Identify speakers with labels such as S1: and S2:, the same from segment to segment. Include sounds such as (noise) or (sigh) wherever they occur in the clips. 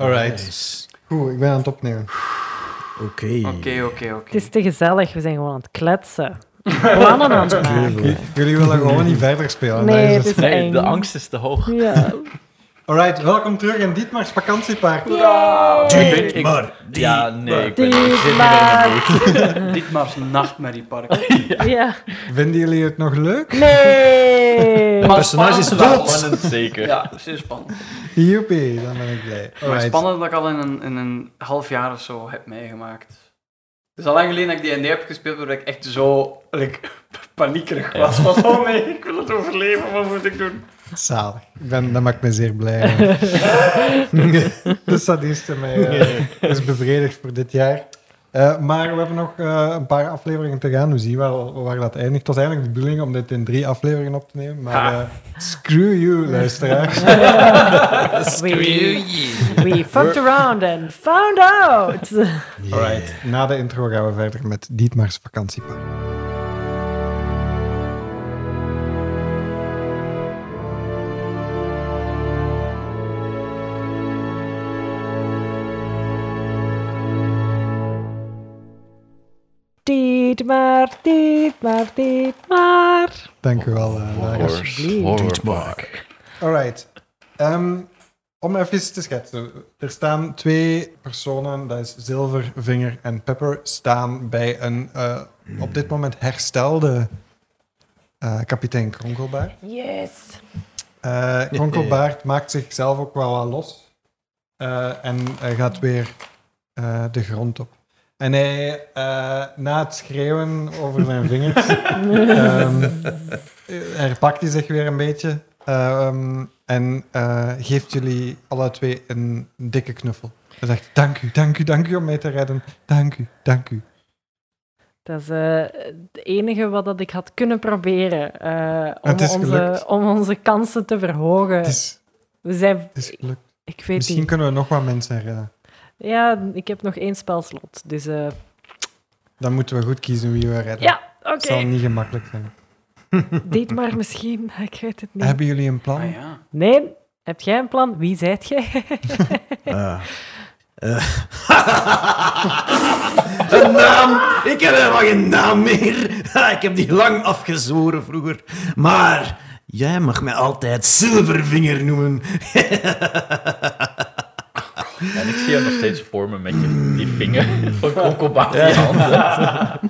S1: Alright.
S2: Nice.
S1: Goed, ik ben aan het opnemen.
S2: Oké.
S3: Oké, oké,
S4: Het
S3: oké.
S4: is te gezellig, we zijn gewoon aan het
S1: (laughs)
S4: kletsen. Plannen aan het maken.
S1: J- Jullie willen gewoon niet verder spelen.
S4: Nee,
S1: dat
S4: het
S1: is het.
S4: is
S5: (laughs) Nee,
S4: eng.
S5: de angst is te hoog.
S4: Ja.
S1: (laughs) Alright, welkom terug in Dietmar's vakantiepark.
S5: Ik- ik-
S2: maar.
S5: ja, nee, ik ben
S4: Die
S5: ik zit niet
S4: maar.
S5: in de mood.
S4: eh,
S3: Dit maar eens (laughs) nachtmerriepark.
S4: Ja.
S1: Vinden jullie het nog leuk?
S4: Nee.
S3: Maar
S5: personage is
S3: spannend-
S5: wel spannend, zeker.
S3: Ja, zeer spannend.
S1: Joepie, dan ben ik blij.
S3: Maar
S1: Alright.
S3: spannend dat ik al in een, in een half jaar of zo heb meegemaakt. Het is al lang geleden dat ik D&D heb gespeeld, waar ik echt zo like, (laughs) paniekerig
S5: Ja.
S3: was. Van, oh nee, ik wil het overleven, wat moet ik doen?
S1: Zalig. Ik ben, dat maakt me zeer
S4: (laughs)
S1: blij. de sadiste mij eh, is bevredigd voor dit jaar. Eh, maar we hebben nog eh, een paar afleveringen te gaan. We zien wel waar dat eindigt. Het was eigenlijk de bedoeling om dit in drie afleveringen op te nemen. Maar
S3: Ha.
S1: eh, screw you,
S3: (laughs)
S1: luisteraars.
S4: We, we fucked around and found out.
S1: Alright. Na de intro gaan we verder met Dietmar's vakantiepark.
S4: Tiet maar, tiet maar, tiet maar.
S1: Dank u wel, eh, Lara.
S4: alsjeblieft.
S5: horror.
S1: Alright. Ehm, om even te schetsen. Er staan twee personen, dat is Zilver, Vinger en Pepper, staan bij een eh, op dit moment herstelde eh, kapitein Kronkelbaard.
S4: Yes. (laughs)
S1: Eh Kronkelbaard maakt zichzelf ook wel wat los Eh, en eh, gaat weer eh, de grond op. En hij, eh, na het schreeuwen over zijn vingers, ehm, herpakt (laughs) hij zich weer een beetje ehm, en eh, geeft jullie alle twee een dikke knuffel. Hij zegt, dank u, dank u, dank u om mee te redden. Dank u, dank u.
S4: Dat is eh, het enige wat dat ik had kunnen proberen eh, om,
S1: Het is
S4: onze,
S1: gelukt.
S4: om onze kansen te verhogen.
S1: Het is,
S4: We zijn,
S1: het is gelukt.
S4: ik weet
S1: Misschien
S4: niet.
S1: kunnen we nog wat mensen redden.
S4: Ja, ik heb nog één spelslot, dus eh,
S1: Dan moeten we goed kiezen wie we redden.
S4: ja, oké.
S1: Het
S4: (laughs)
S1: zal niet gemakkelijk zijn.
S4: Dit maar misschien, (laughs) ik weet het niet.
S1: Hebben jullie een plan?
S3: Ah ja.
S4: Nee, heb jij een plan? Wie zijt jij? (laughs)
S2: een naam! Ik heb helemaal geen naam meer. (laughs) Ha, ik heb die lang afgezworen vroeger. Maar jij mag mij altijd Zilvervinger noemen.
S5: En ik zie hem nog steeds voor me met je- die vinger (laughs) van Kokkelbaard in je handen.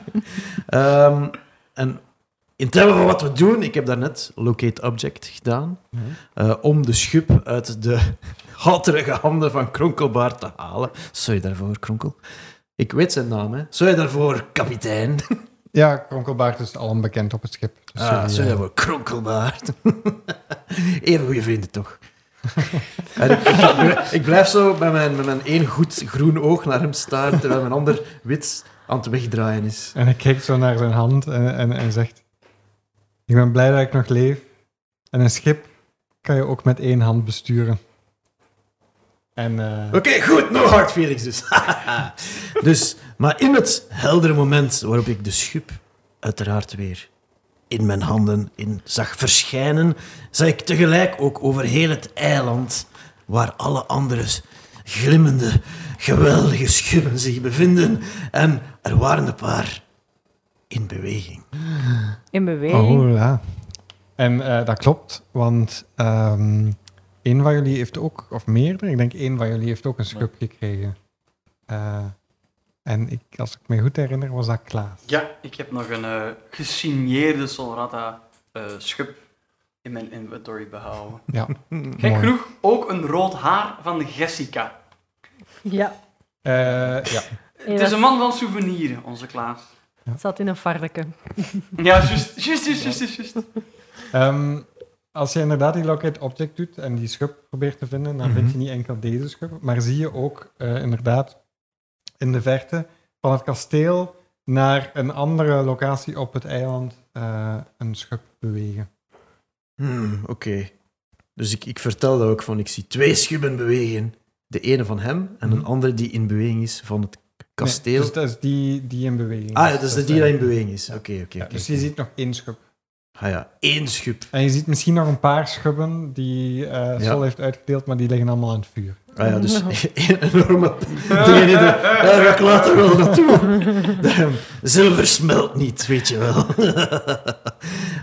S2: Ehm, en in termen van wat we doen, ik heb daarnet Locate Object gedaan. eh, om de schub uit de (laughs) hatterige handen van Kronkelbaard te halen. Sorry daarvoor, Kronkel. Ik weet zijn naam, hè. Sorry daarvoor, kapitein.
S1: Ja, Kronkelbaard is al onbekend op het schip. Dus
S2: Ah,
S1: jullie,
S2: sorry
S1: eh,
S2: daarvoor, Kronkelbaard. (laughs) Even goede vrienden, toch? (laughs) En ik, ik- ik blijf zo met mijn, met mijn één goed groen oog naar hem staren, terwijl mijn ander wit aan het wegdraaien is.
S1: En hij kijkt zo naar zijn hand en, en, en zegt... Ik ben blij dat ik nog leef. En een schip kan je ook met één hand besturen. En eh,
S2: Oké, goed, no hard feelings dus. (laughs) dus. Maar in het heldere moment waarop ik de schub uiteraard weer in mijn handen in zag verschijnen, zag ik tegelijk ook over heel het eiland, waar alle andere glimmende, geweldige schubben zich bevinden. En er waren een paar in beweging.
S4: In beweging.
S1: oh ja. En eh, dat klopt, want ehm één van jullie heeft ook, of meerdere, ik denk één van jullie heeft ook een schub gekregen. Eh, en ik, als ik me goed herinner, was dat Klaas.
S3: ja, ik heb nog een eh, gesigneerde Solrata eh, schub in mijn inventory behouden.
S1: Ja,
S3: Gek
S1: mooi.
S3: genoeg ook een rood haar van Jessica.
S4: Ja.
S1: Eh, ja.
S3: Het is een man van souveniren, onze Klaas.
S4: Zat in een varken.
S3: Ja, juist, juist, juist, juist, juist, juist.
S1: Ehm, als je inderdaad die locate object doet en die schub probeert te vinden, dan
S2: Mhm.
S1: vind je niet enkel deze schub, maar zie je ook eh, inderdaad in de verte van het kasteel naar een andere locatie op het eiland eh, een schub bewegen.
S2: Hmm, oké. Dus ik, ik vertel dat ook van, ik zie twee schubben bewegen. De ene van hem en een andere die in beweging is van het kasteel.
S1: Hmm. Nee, dus dat is die, die in beweging.
S2: Ah, ja, dus de
S1: is,
S2: die dat
S1: eh,
S2: in beweging is. Oké, oké.
S1: ja,
S2: oké,
S1: dus
S2: oké.
S1: je ziet nog één schub.
S2: Ah ja, één schub.
S1: En je ziet misschien nog een paar schubben die eh Sol
S2: Ja.
S1: heeft uitgedeeld, maar die liggen allemaal aan het vuur.
S2: Ah ja, dus (laughs) een enorme dingen in de... Ja, daar ga ik later wel naartoe. De- Zilver smelt niet, weet je wel. (laughs)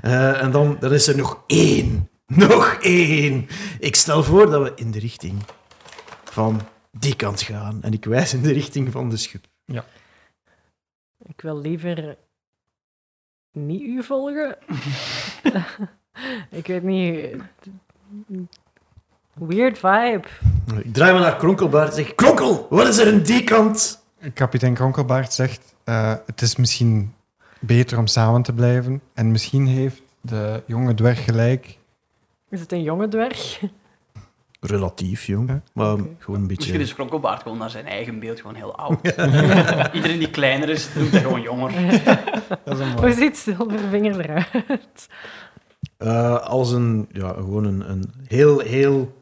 S2: Eh, en dan, dan is er nog één. Nog één. Ik stel voor dat we in de richting van die kant gaan. En ik wijs in de richting van de schub.
S4: Ik wil liever niet u volgen. (laughs) ik weet niet. Weird vibe.
S2: Ik draai me naar Kronkelbaard en zeg... Kronkel, wat is er in die kant?
S1: Kapitein Kronkelbaard zegt: eh, Het is misschien beter om samen te blijven. En misschien heeft de jonge dwerg gelijk.
S4: Is het een jonge dwerg?
S2: Relatief, jong.
S1: Ja,
S2: Maar
S4: oké.
S2: gewoon een beetje...
S3: Misschien is Kronkelbaard gewoon naar zijn eigen beeld gewoon heel oud.
S5: (laughs)
S3: Iedereen die kleiner is, doet dat gewoon jonger.
S1: (laughs) Dat is een
S4: Hoe ziet Zilvervinger eruit?
S2: Eh, als een, ja, gewoon een, een heel, heel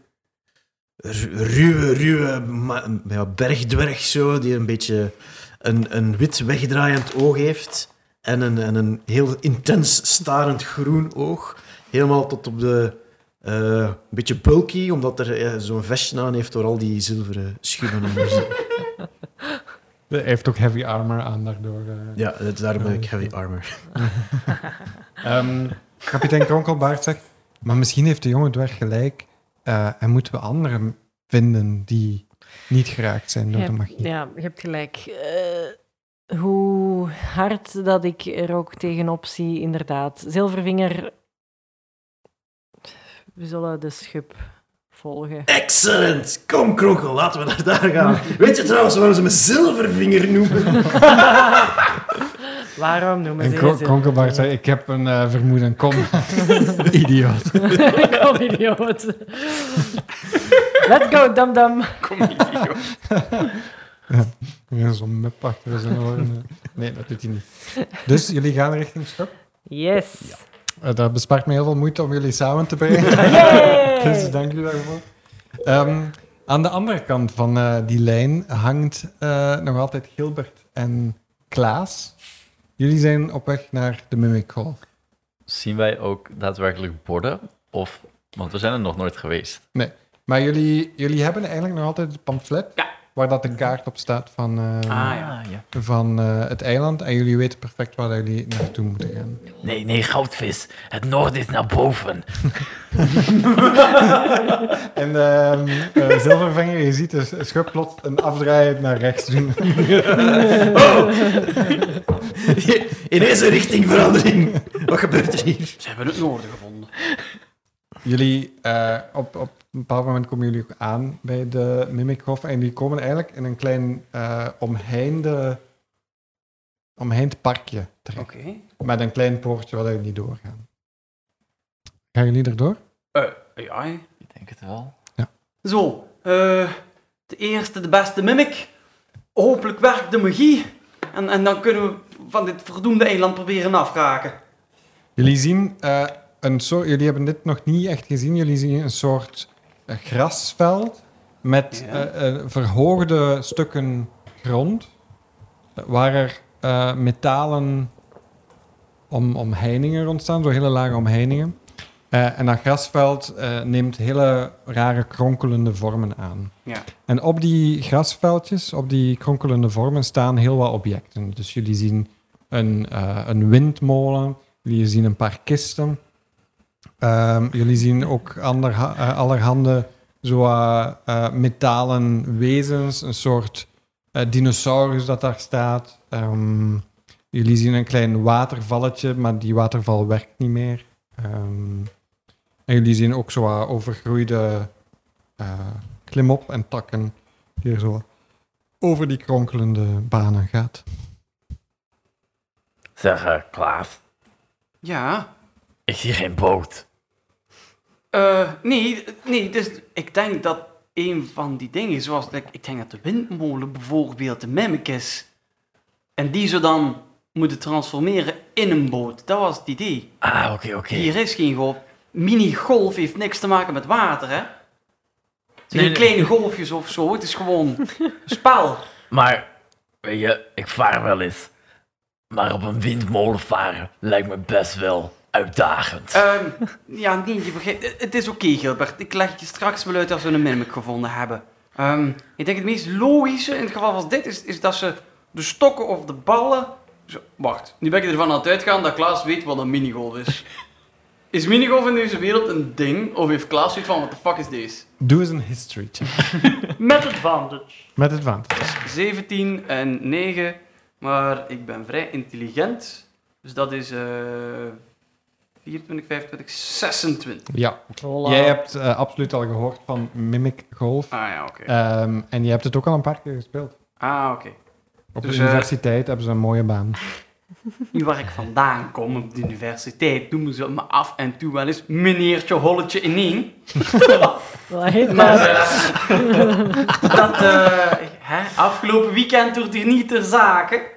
S2: ru- ruwe, ruwe ma- ja, bergdwerg zo, die een beetje een, een wit wegdraaiend oog heeft en een, en een heel intens starend groen oog. Helemaal tot op de, eh, een beetje bulky, omdat er eh, zo'n vestje aan heeft door al die zilveren schubben. onder zijn-
S1: Hij heeft ook heavy armor aan daardoor. eh.
S2: ja, dat- daarom heb ik heavy armor.
S1: Ehm, kapitein Kronkelbaard zegt: Maar misschien heeft de jonge dwerg gelijk. eh, en moeten we anderen vinden die niet geraakt zijn door
S4: Ja,
S1: de magie.
S4: Ja, je hebt gelijk. Eh, hoe hard dat ik er ook tegenop zie, inderdaad. Zilvervinger. We zullen de schub volgen.
S2: Excellent! Kom, Kronkel, laten we naar daar gaan. Weet je trouwens waarom ze me zilvervinger noemen?
S4: Waarom noemen
S1: En
S4: ze eh,
S1: Kron-
S4: deze-
S1: Kronkelbaard zegt: Ik heb een eh, vermoeden. Kom, idioot.
S4: (laughs) Kom, idioot. Let's go, dum-dum.
S3: Kom hier, joh.
S1: Ja, Zo'n mup achter zijn oren. Nee, dat doet hij niet. Dus jullie gaan richting Schok.
S4: Yes.
S1: Eh, dat bespaart me heel veel moeite om jullie samen te
S3: (laughs)
S1: brengen. (laughs)
S4: Yay!
S1: dus dank jullie daarvoor. Ehm, aan de andere kant van eh, die lijn hangt eh, nog altijd Gilbert en Klaas. Jullie zijn op weg naar de Mimic Hall.
S5: Zien wij ook daadwerkelijk borden? Of, want we zijn er nog nooit geweest.
S1: Maar jullie, jullie hebben eigenlijk nog altijd het pamflet
S3: Ja.
S1: waar dat de kaart op staat van, eh,
S3: Ah, ja.
S5: ja.
S1: van eh, het eiland. En jullie weten perfect waar jullie naartoe moeten gaan.
S5: Nee, nee, goudvis. Het noorden is naar boven.
S1: En ehm eh, Zilvervinger, je ziet dus, de s- schub plots een afdraai naar rechts doen.
S2: Oh! (laughs) In deze richting verandering. Wat gebeurt er hier?
S3: Ze hebben het noorden gevonden.
S1: Jullie, eh, op, op een bepaald moment komen jullie ook aan bij de Mimikhof. En die komen eigenlijk in een klein eh, omheinde, omheind parkje terecht.
S3: Oké.
S1: Met een klein poortje waar jullie niet doorgaan. Gaan jullie erdoor?
S3: Eh, ja, hè.
S5: Ik denk het wel.
S3: Zo, eh, de eerste, de beste mimic. Hopelijk werkt de magie. En, en dan kunnen we van dit verdoemde eiland proberen afraken.
S1: Jullie zien eh, een soort. Jullie hebben dit nog niet echt gezien. Jullie zien een soort eh, grasveld met
S3: Ja.
S1: eh, eh, verhoogde stukken grond, eh, waar er eh, metalen om, omheiningen ontstaan, zo hele lage omheiningen. Eh, en dat grasveld eh, neemt hele rare kronkelende vormen aan.
S3: Ja.
S1: En op die grasveldjes, op die kronkelende vormen, staan heel wat objecten. Dus jullie zien een, eh, een windmolen, jullie zien een paar kisten. Ehm, jullie zien ook ander, eh, allerhande zo, eh, eh, metalen wezens, een soort eh, dinosaurus dat daar staat. Ehm, jullie zien een klein watervalletje, maar die waterval werkt niet meer. Ehm, en jullie zien ook zo wat overgroeide eh, klimop en takken die er zo over die kronkelende banen gaat.
S5: Zeg, eh, Klaas,
S3: Ja.
S5: ik zie geen boot.
S3: Eh, nee, nee, dus ik denk dat een van die dingen, zoals like, ik denk dat de windmolen bijvoorbeeld de mimic is. En die ze dan moeten transformeren in een boot. Dat was het idee.
S5: Ah, oké, oké.
S3: Hier is geen golf. Mini-golf heeft niks te maken met water, hè? Het zijn
S5: Nee,
S3: geen
S5: nee.
S3: kleine golfjes of zo. Het is gewoon een spel.
S5: Maar, weet je, ik vaar wel eens. Maar op een windmolen varen lijkt me best wel uitdagend.
S3: Ehm, ja, nee, je begrijpt. Het is oké, Gilbert. Ik leg het je straks wel uit als we een mimic gevonden hebben. Ehm, ik denk het meest logische in het geval van dit is, is dat ze de stokken of de ballen. Zo, wacht, nu ben ik ervan aan het uitgaan dat Klaas weet wat een minigolf is. Is minigolf in deze wereld een ding? Of heeft Klaas zoiets van, what the fuck is deze?
S1: Doe eens een history check.
S6: Met advantage.
S1: Met advantage.
S3: 17 en 9, maar ik ben vrij intelligent. Dus dat is eh 24, 25, 26.
S1: Ja.
S4: Voilà.
S1: Jij hebt eh, absoluut al gehoord van Mimic Golf.
S3: Ah ja, oké.
S1: Ehm, en je hebt het ook al een paar keer gespeeld.
S3: Ah, oké.
S1: Op
S3: Dus,
S1: de
S3: eh,
S1: universiteit hebben ze een mooie baan.
S3: Nu waar ik vandaan kom, op de universiteit, noemen ze me af en toe wel eens meneertje Holletje ineen. Maar
S4: Right, maar-
S3: eh, dat, eh, (laughs) hè, afgelopen weekend doet hier niet ter zake.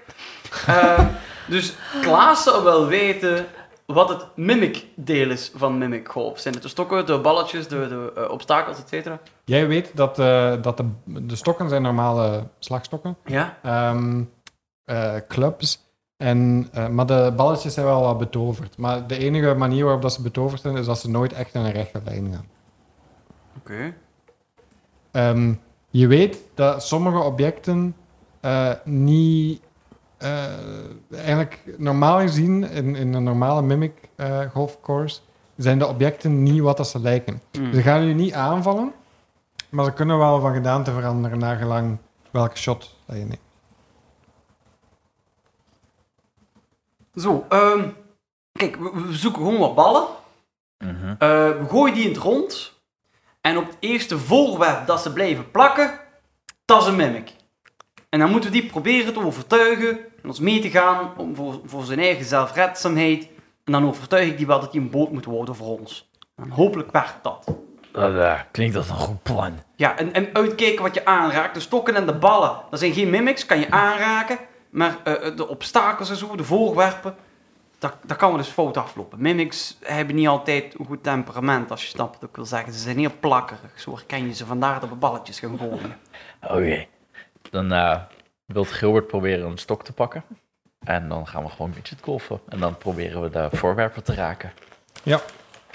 S3: Eh, dus Klaas zou wel weten wat het mimic-deel is van mimic golf. Zijn het de stokken, de balletjes, de, de eh, obstakels, et cetera?
S1: Jij weet dat, eh, dat de, de stokken zijn normale slagstokken.
S3: Ja?
S1: Ehm, eh, clubs. En, eh, maar de balletjes zijn wel wat betoverd. Maar de enige manier waarop dat ze betoverd zijn, is dat ze nooit echt in een rechte lijn gaan.
S3: Oké.
S1: Ehm, je weet dat sommige objecten eh, niet. eh, eigenlijk normaal gezien, in, in een normale mimic eh golfcourse, zijn de objecten niet wat dat ze lijken. Ze gaan je niet aanvallen, maar ze kunnen wel van gedaante veranderen naar gelang welke shot dat je neemt.
S3: Zo, ehm, kijk, we, we zoeken gewoon wat ballen.
S5: Mhm.
S3: Eh, we gooien die in het rond. En op het eerste voorwerp dat ze blijven plakken, dat is een mimic. En dan moeten we die proberen te overtuigen en ons mee te gaan om voor, voor zijn eigen zelfredzaamheid. En dan overtuig ik die wel dat die een boot moet worden voor ons. En hopelijk werkt dat.
S5: Dat eh, klinkt als een goed plan.
S3: Ja, en, en uitkijken wat je aanraakt. De stokken en de ballen. Dat zijn geen mimics, kan je aanraken. Maar eh, eh, de obstakels en zo, de voorwerpen, dat, dat kan wel eens fout aflopen. Mimics hebben niet altijd een goed temperament, als je snapt wat ik wil zeggen. Ze zijn heel plakkerig. Zo herken je ze vandaar dat we balletjes gaan gooien.
S5: Oké.
S7: Dan eh, wil Gilbert proberen een stok te pakken. En dan gaan we gewoon midget golfen. En dan proberen we de voorwerpen te raken.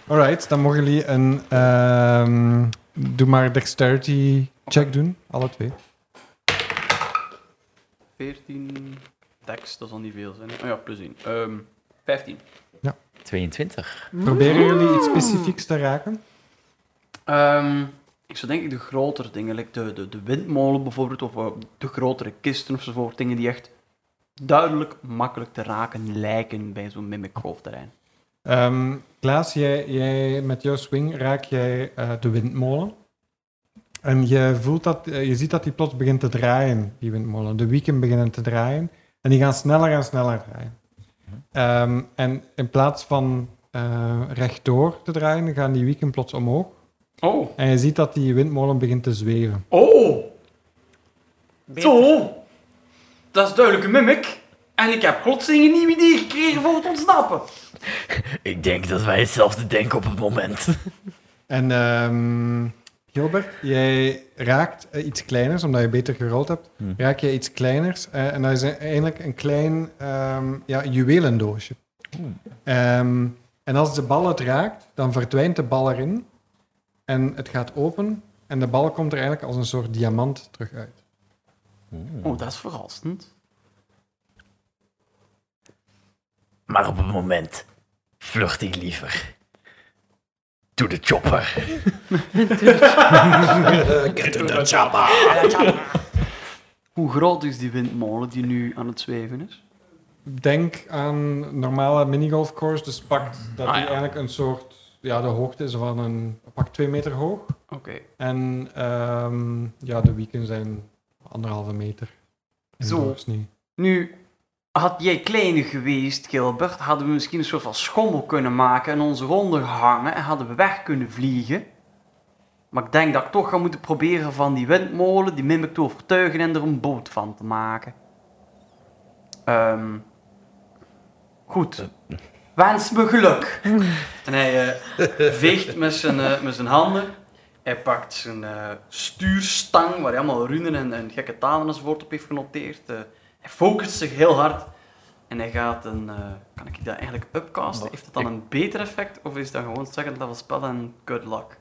S1: Alright, dan mogen jullie een. ehm, doe maar dexterity check doen, alle twee.
S3: 14 tekst, dat zal niet veel zijn. Oh ja, plus 1. 15.
S7: 22.
S1: Proberen jullie iets specifieks te raken?
S3: Ehm, ik zou denk ik de grotere dingen, like de, de, de windmolen bijvoorbeeld, of eh, de grotere kisten ofzovoort, dingen die echt duidelijk makkelijk te raken lijken bij zo'n mimic golfterrein.
S1: Ehm, Klaas, jij, jij, met jouw swing raak jij eh, de windmolen. En je, voelt dat, eh, je ziet dat die plots begint te draaien, die windmolen. De wieken beginnen te draaien. En die gaan sneller en sneller draaien. Ehm, en in plaats van eh, rechtdoor te draaien, gaan die wieken plots omhoog.
S3: Oh,
S1: En je ziet dat die windmolen begint te zweven.
S3: oh! Zo! Dat is duidelijk een mimic. En ik heb plotseling een nieuw idee gekregen voor het ontsnappen.
S5: Ik denk dat wij hetzelfde denken op het moment. (laughs)
S1: En ehm, Gilbert, jij raakt eh, iets kleiners, omdat je beter gerold hebt.
S7: Hm.
S1: Raak je iets kleiners. eh, en dat is eigenlijk een klein ehm, ja, juwelendoosje. Ehm, en als de bal het raakt, dan verdwijnt de bal erin. En het gaat open. En de bal komt er eigenlijk als een soort diamant terug uit.
S3: Oh, dat is verrassend.
S5: Maar op het moment vlucht ik liever. Doe de chopper.
S3: Hoe groot is die windmolen die nu aan het zweven is?
S1: Denk aan normale minigolfcourse. Dus pakt dat
S3: Ah,
S1: die
S3: ja.
S1: eigenlijk een soort... Ja, de hoogte is van een... Pak twee meter hoog.
S3: Oké.
S1: En ehm, ja, de wieken zijn anderhalve meter.
S3: Zo.
S1: Indoors niet.
S3: Nu, had jij kleiner geweest, Gilbert, hadden we misschien een soort van schommel kunnen maken en onze ronde hangen en hadden we weg kunnen vliegen. Maar ik denk dat ik toch ga moeten proberen van die windmolen, die mimic te overtuigen en er een boot van te maken. Ehm goed. Wens me geluk. en hij eh veegt met zijn, eh, met zijn handen. Hij pakt zijn eh, stuurstang, waar hij allemaal runen en, en gekke talen enzovoort op heeft genoteerd. Eh, hij focust zich heel hard. En hij gaat een... eh, kan ik dat eigenlijk upcasten? Heeft dat dan een beter effect? Of is dat gewoon second level spel en good luck?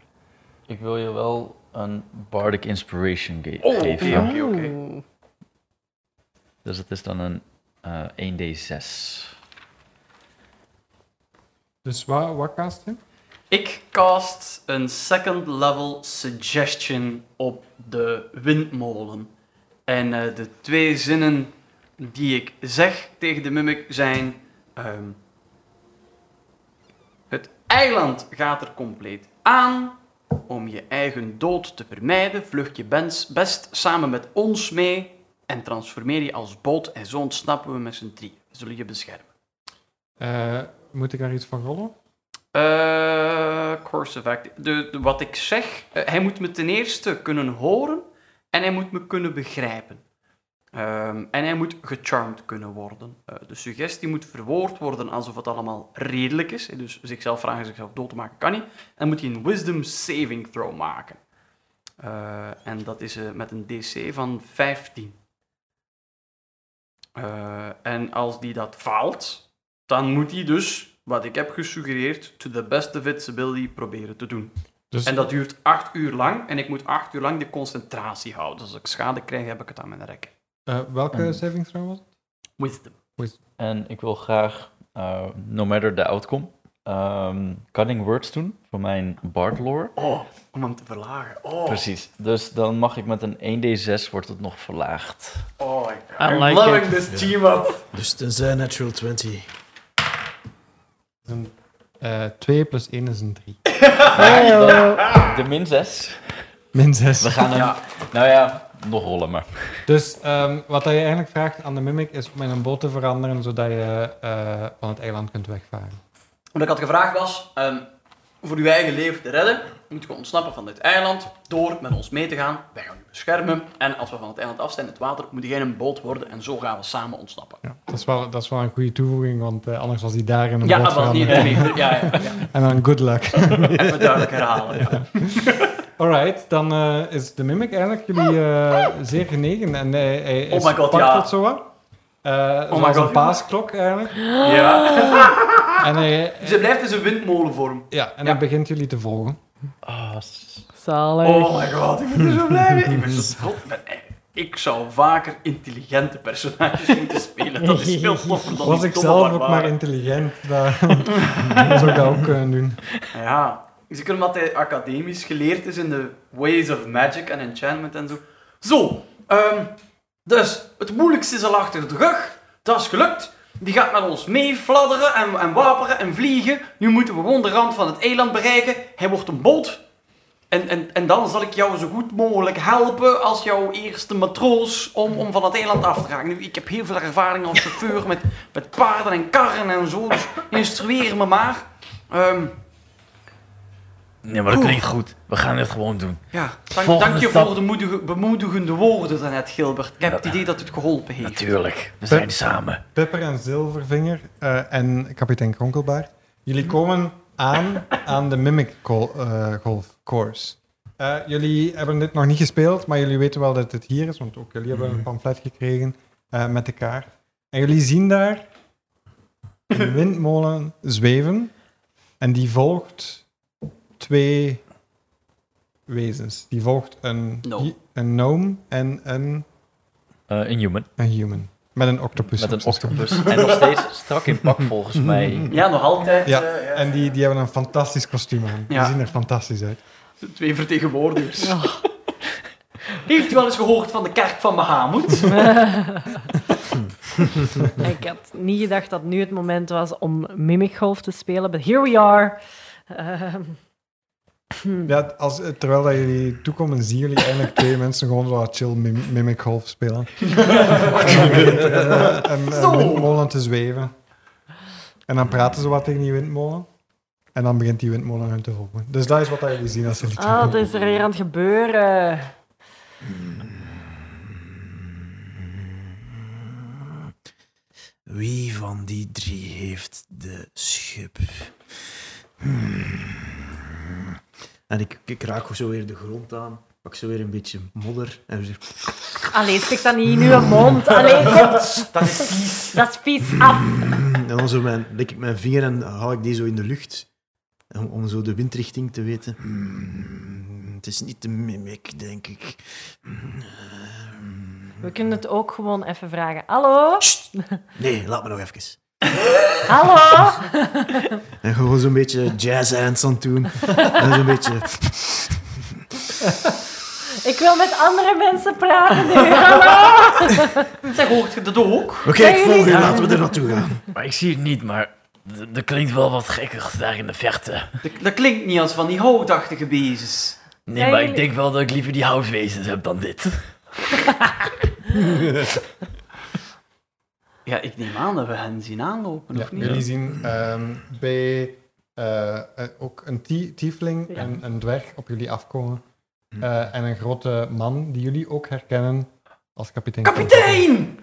S7: Ik wil je wel een Bardic Inspiration ge-
S3: Oh,
S7: geven.
S3: ja. Oké,
S4: Oeh.
S7: Dus het is dan een eh, 1d6.
S1: Dus wat, wat cast je?
S3: Ik cast een second level suggestion op de windmolen. En eh, de twee zinnen die ik zeg tegen de mimic zijn... ehm, het eiland gaat er compleet aan. Om je eigen dood te vermijden, vlucht je bens- best samen met ons mee en transformeer je als boot. En zo ontsnappen we met z'n drieën. We zullen je beschermen.
S1: Eh, moet ik daar iets van rollen?
S3: Eh, course effect. De, de- wat ik zeg, eh, hij moet me ten eerste kunnen horen en hij moet me kunnen begrijpen. Ehm, en hij moet gecharmed kunnen worden. Eh, de suggestie moet verwoord worden alsof het allemaal redelijk is. Dus zichzelf vragen zichzelf dood te maken kan niet. Dan moet hij een wisdom saving throw maken. Eh, en dat is eh, met een DC van 15. Eh, en als die dat faalt, dan moet hij dus, wat ik heb gesuggereerd, to the best of its ability proberen te doen.
S1: Dus
S3: En dat duurt acht uur lang en ik moet acht uur lang de concentratie houden. Dus als ik schade krijg, heb ik het aan mijn rek.
S1: eh, welke
S3: Hmm.
S7: Ehm.
S1: saving throw was het?
S3: Wisdom.
S7: En ik wil graag, eh, no matter the outcome, ehm, cutting words doen voor mijn bard lore.
S3: Oh, om hem te verlagen. Oh,
S7: Precies. Dus dan mag ik met een 1d6 wordt het nog verlaagd.
S3: oh
S7: I
S3: I'm
S7: like
S3: loving
S7: it.
S3: this team-up.
S2: Dus tenzij natural 20.
S1: Een, eh, 2 plus 1 is een 3.
S3: oh.
S7: Ja, de min 6.
S1: (laughs) Min
S7: We
S1: 6.
S7: gaan hem. Nou ja, nog rollen maar.
S1: Dus ehm, wat dat je eigenlijk vraagt aan de mimic is om in een boot te veranderen zodat je eh, van het eiland kunt wegvaren.
S3: Wat ik had gevraagd was, ehm, voor uw eigen leven te redden, moeten we ontsnappen van dit eiland door met ons mee te gaan. Wij gaan u beschermen. En als we van het eiland af zijn, het water, moet jij een boot worden en zo gaan we samen ontsnappen.
S1: Ja, dat, is wel, dat is wel een goede toevoeging, want eh, anders was hij daar in een
S3: Ja,
S1: boot
S3: dat was niet
S1: veranderd.
S3: (laughs) het ja, ja, ja.
S1: En dan good luck.
S3: Even duidelijk herhalen. Ja.
S1: Alright, dan eh, is de mimic eigenlijk jullie eh, zeer genegen. En hij, hij is
S3: Oh my god,
S1: pakt
S3: ja. Oh
S1: het zo wat. Eh zoals
S3: god,
S1: een
S3: ja.
S1: paasklok eigenlijk.
S3: (laughs) Ja.
S1: En hij,
S3: Dus hij blijft in zijn windmolenvorm.
S1: ja, en
S3: Ja.
S1: hij begint jullie te volgen.
S7: Ah,
S4: Zalig.
S3: Oh my god, ik ben er zo blij mee. Ik ben zo trots. Maar, eh, Ik zou vaker intelligente personages moeten spelen. Dat is veel toffer dan
S1: Was
S3: die
S1: ik
S3: domme
S1: zelf ook maar
S3: barbaren.
S1: intelligent, dan zou ik (laughs) dat ook kunnen doen.
S3: Ja, zeker omdat hij academisch geleerd is in de ways of magic en enchantment en zo. Zo, ehm, dus het moeilijkste is al achter de rug. Dat is gelukt. Die gaat met ons mee fladderen en, en waperen en vliegen. Nu moeten we gewoon de rand van het eiland bereiken. Hij wordt een boot. En, en, en dan zal ik jou zo goed mogelijk helpen als jouw eerste matroos om, om van het eiland af te raken. Nu, ik heb heel veel ervaring als chauffeur met, met paarden en karren en zo. Dus instrueer me maar. Ehm,
S5: Nee, maar dat klinkt goed. We gaan dit gewoon doen.
S3: Ja, dank,
S5: Volgende
S3: dank je
S5: stap.
S3: voor de moedige- bemoedigende woorden daarnet, Gilbert. Ik heb het idee dat het geholpen heeft.
S5: Natuurlijk. We
S4: Eh.
S5: zijn samen.
S1: Pepper en Zilvervinger eh, en kapitein Kronkelbaard. Jullie komen aan aan de Mimic Gol- eh, Golf Course. Eh, jullie hebben dit nog niet gespeeld, maar jullie weten wel dat het hier is, want ook jullie hebben
S7: Mhm.
S1: een pamflet gekregen eh, met de kaart. En jullie zien daar
S7: (laughs)
S1: een windmolen zweven en die volgt twee wezens. Die volgt een,
S3: Gnome.
S1: een gnome en een,
S7: eh, een human.
S1: een human. Met een octopus.
S7: Met
S1: op
S7: een
S1: zijn schouder.
S7: octopus. En nog steeds strak in pak (laughs) volgens mij.
S3: Ja, nog altijd.
S1: Ja,
S3: eh, ja.
S1: en die, die hebben een fantastisch kostuum aan.
S3: Ja.
S1: Die zien er fantastisch uit.
S3: De Twee vertegenwoordigers. (laughs) Heeft u wel eens gehoord van de kerk van Mahamud?
S4: Ik had niet gedacht dat nu het moment was om Mimic Golf te spelen, but here we are. Ehm,
S1: Ja, als, terwijl dat jullie toekomen, zien jullie eigenlijk twee mensen gewoon zo wat chill mim- mimic golf spelen. en en,
S3: Zo.
S1: windmolen te zweven. En dan praten ze wat tegen die windmolen. En dan begint die windmolen hun te volgen. Dus dat is wat dat jullie zien als jullie
S4: Ah,
S1: terugkomen.
S4: wat is er weer aan het gebeuren?
S2: Wie van die drie heeft de schub? Hmm. En ik, ik raak zo weer de grond aan. Pak zo weer een beetje modder. En zeg,
S4: Allee, stik dat niet in (laughs) uw mond. Allee, kom. Dat is vies. Dat is vies. Af.
S2: hmm. En dan zo mijn, lik ik mijn vinger en haal ik die zo in de lucht. Om, om zo de windrichting te weten. Hmm. Het is niet de mimic, denk ik. Hmm.
S4: We kunnen het ook gewoon even vragen. Hallo?
S2: Sst! Nee, laat me nog even.
S4: Hallo?
S2: En gewoon zo'n beetje jazz hands aan het (laughs) doen. En zo'n beetje...
S4: Ik wil met andere mensen praten (laughs) nu. Hallo?
S3: Zeg, hoort je dat ook?
S2: Oké,
S4: Zijn
S2: ik volg u.
S4: jullie-
S2: Laten we er naartoe gaan.
S5: Maar ik zie het niet, maar d- er klinkt wel wat gekkig daar in de verte.
S3: Dat, dat klinkt niet als van die houtachtige wezens.
S5: Nee,
S4: Zijn
S5: maar
S4: jullie-
S5: ik denk wel dat ik liever die houtwezens heb dan dit.
S3: Ja, ik neem aan dat we hen zien aanlopen,
S1: Ja,
S3: of niet?
S1: Jullie zien ehm, bij eh, eh, ook een tie- tiefling
S4: Ja.
S1: en een dwerg op jullie afkomen. Eh, en een grote man die jullie ook herkennen als kapitein.
S3: Kapitein!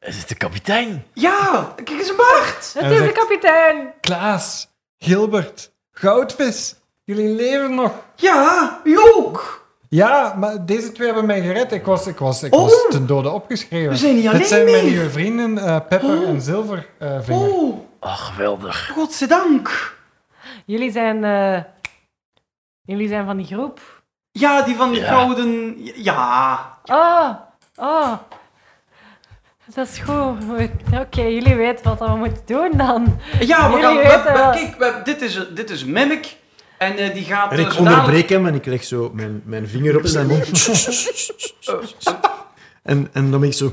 S5: Is het de kapitein?
S3: Ja, kijk eens een baard!
S4: Het
S1: Hij
S4: is de
S1: zegt-
S4: kapitein.
S1: Klaas, Gilbert, Goudvis, jullie leven nog.
S3: Ja, u ook!
S1: Ja, maar deze twee hebben mij gered. Ik was, ik was, ik
S3: Oh.
S1: was ten dode opgeschreven.
S3: We zijn niet alleen
S1: Dit zijn mijn
S3: meer.
S1: nieuwe vrienden, eh, Pepper
S3: Oh.
S1: en eh, Zilvervinger.
S3: Oh,
S5: Ach, geweldig.
S3: godzijdank!
S4: Jullie zijn... eh, jullie zijn van die groep.
S3: Ja, die van die
S5: Ja.
S3: gouden... Ja,
S4: Oh, oh. Dat is goed. Oké, jullie weten wat we moeten doen dan.
S3: ja we
S4: Jullie
S3: gaan... we-
S4: weten
S3: we-
S4: wel.
S3: kijk, we- dit, is, dit is Mimic. En eh, die gaat...
S2: En
S3: eh,
S2: ik
S3: zo dadelijk-
S2: onderbreek hem en ik leg zo mijn, mijn vinger op zijn
S4: (laughs)
S2: mond. En, en dan ben ik zo...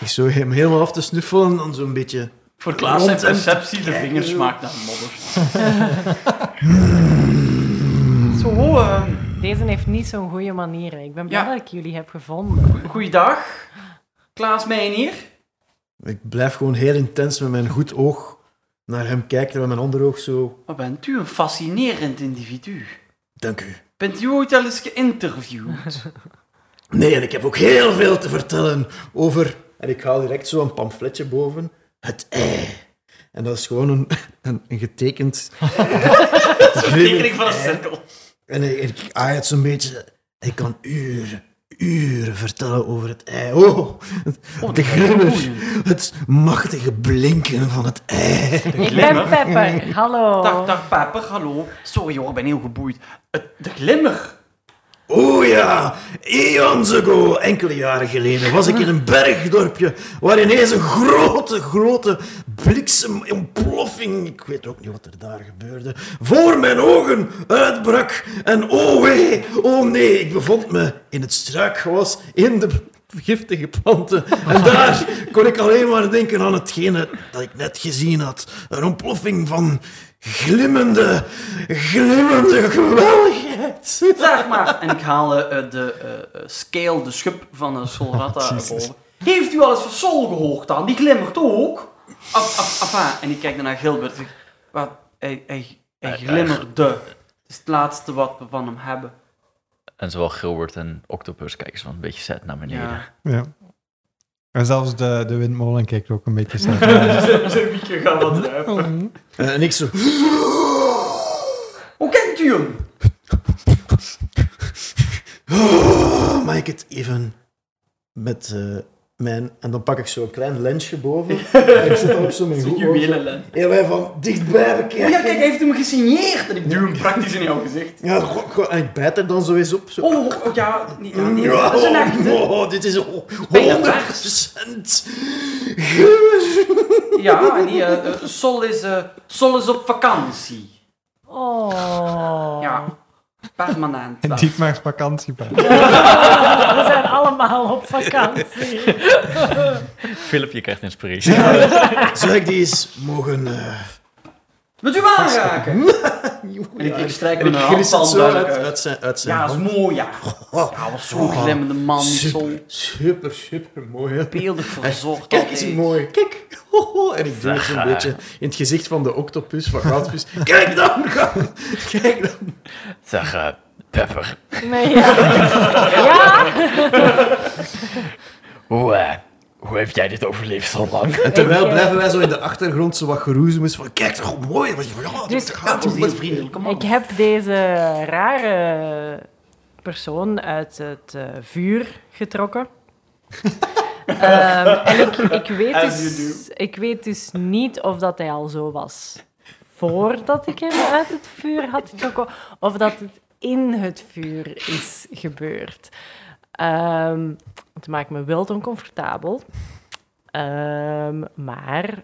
S2: Ik zo hem helemaal af te snuffelen en dan zo'n beetje...
S3: Voor Klaas zijn
S2: Rond en-
S3: perceptie, de vingers smaakt naar modder. (laughs) Zo, eh,
S4: Deze heeft niet zo'n goede manieren. Ik ben blij
S3: Ja.
S4: dat ik jullie heb gevonden.
S3: goeiedag. Klaas Meijnier.
S2: Ik blijf gewoon heel intens met mijn goed oog naar hem kijken en met mijn ander oog zo...
S3: Wat bent u een fascinerend individu.
S2: Dank u.
S3: Bent u ooit al eens (laughs) geïnterviewd?
S2: Nee, en ik heb ook heel veel te vertellen over... En ik haal direct zo een pamfletje boven. Het ei. En dat is gewoon een, een, een
S3: (laughs)
S2: getekend...
S3: Tekening van een cirkel.
S2: En ik, ik aai het zo'n beetje. Ik kan uren, uren vertellen over het ei. Oh, de glimmer. Het machtige blinken van het ei.
S4: Ik ben Pepper. Hallo.
S3: Dag, dag, Pepper, hallo. Sorry hoor, ik ben heel geboeid. Het, de glimmer.
S2: Oh ja, eons ago, enkele jaren geleden, was ik in een bergdorpje waar ineens een grote, grote bliksemontploffing, ik weet ook niet wat er daar gebeurde, voor mijn ogen uitbrak. En oh wee, oh nee, ik bevond me in het struikgewas, in de giftige planten. En daar kon ik alleen maar denken aan hetgene dat ik net gezien had. Een ontploffing van glimmende, glimmende geweldigheid.
S3: Zeg maar. En ik haal eh, eh, de eh, eh, scale, de schub van een (laughs) Solrata
S2: Jezus.
S3: boven. Heeft u al eens van Sol gehoord dan? Die glimmert ook. Af, af, af, ah. En ik kijk dan naar Gilbert. Ik- Wat? Hij, hij, hij glimmerde. Het is het laatste wat we van hem hebben.
S7: En zowel Gilbert en Octopus kijken ze wel een beetje zet naar beneden.
S3: Ja. (laughs)
S1: Ja. En zelfs de, de windmolen kijkt ook een beetje (laughs) snel.
S3: Dus Wieke gaat (laughs) wat hebben.
S2: Eh, en ik zo...
S3: Hoe kent u hem?
S2: Oh, (gasps) mag ik het even met eh, mijn... En dan pak ik zo'n klein lensje
S3: (laughs)
S2: boven. en ik zet dan op zo mijn
S3: Een
S2: goed oog. zo-
S3: juwelenlens.
S2: En wij van dichtbij bekijken.
S3: Oh ja, kijk, hij heeft hem gesigneerd. En ik duw hem praktisch in jouw gezicht.
S2: Ja, go- go- en ik bijt er dan zo eens op. Zo.
S3: Oh, oh, oh, ja, nee, ja, nee,
S2: Ja,
S3: dat is een
S2: oh,
S3: echte.
S2: oh, dit is ho- 100%
S3: Bijna Ja, en die, eh, eh, Sol, is, eh, Sol is op vakantie.
S4: Oh.
S3: Ja, permanent. wel.
S1: Dietmar's vakantiepaard.
S4: (laughs) We zijn allemaal op vakantie.
S7: Philip, je krijgt inspiratie. (laughs)
S2: Zou ik die eens mogen... eh,
S3: Wilt u hem aanraken? En ik, ik strijk
S2: en
S3: met
S2: ik
S3: een
S2: gris het
S3: handpalm
S2: zo uit,
S3: duidelijk uit.
S2: uit zijn, uit zijn
S3: Ja, dat
S2: hand.
S3: is mooi, ja.
S2: Oh,
S3: Ja, wat zo'n glimmende man, die
S2: super,
S3: Sol.
S2: super, super mooi. hè.
S3: Beeldig verzorgd.
S2: Kijk eens
S3: altijd.
S2: mooi. Kijk. (laughs) Ho, ho. En ik doe het zo'n
S7: Zeg.
S2: beetje in het gezicht van de octopus, van goudvis. (laughs) Kijk dan, goud. Kijk dan.
S5: Zeg, eh, Pepper,
S4: Nee, ja. ja?
S5: hoe, eh, hoe heb jij dit overleefd zo lang?
S2: En terwijl
S4: Ik, eh,
S2: blijven wij zo in de achtergrond zo wat geroezemus van... Kijk toch, hoe mooi. Wat, ja,
S4: Dus-
S2: dus, gaat,
S3: Dat is een
S2: wat,
S3: heel vriendelijke man.
S4: Ik heb deze rare persoon uit het eh, vuur
S3: (laughs)
S4: getrokken. Ehm, en ik, ik, weet
S3: As you
S4: dus, ik weet dus niet of dat hij al zo was voordat ik hem uit het vuur had getrokken, of dat het in het vuur is gebeurd. Ehm, het maakt me wel oncomfortabel. Ehm, maar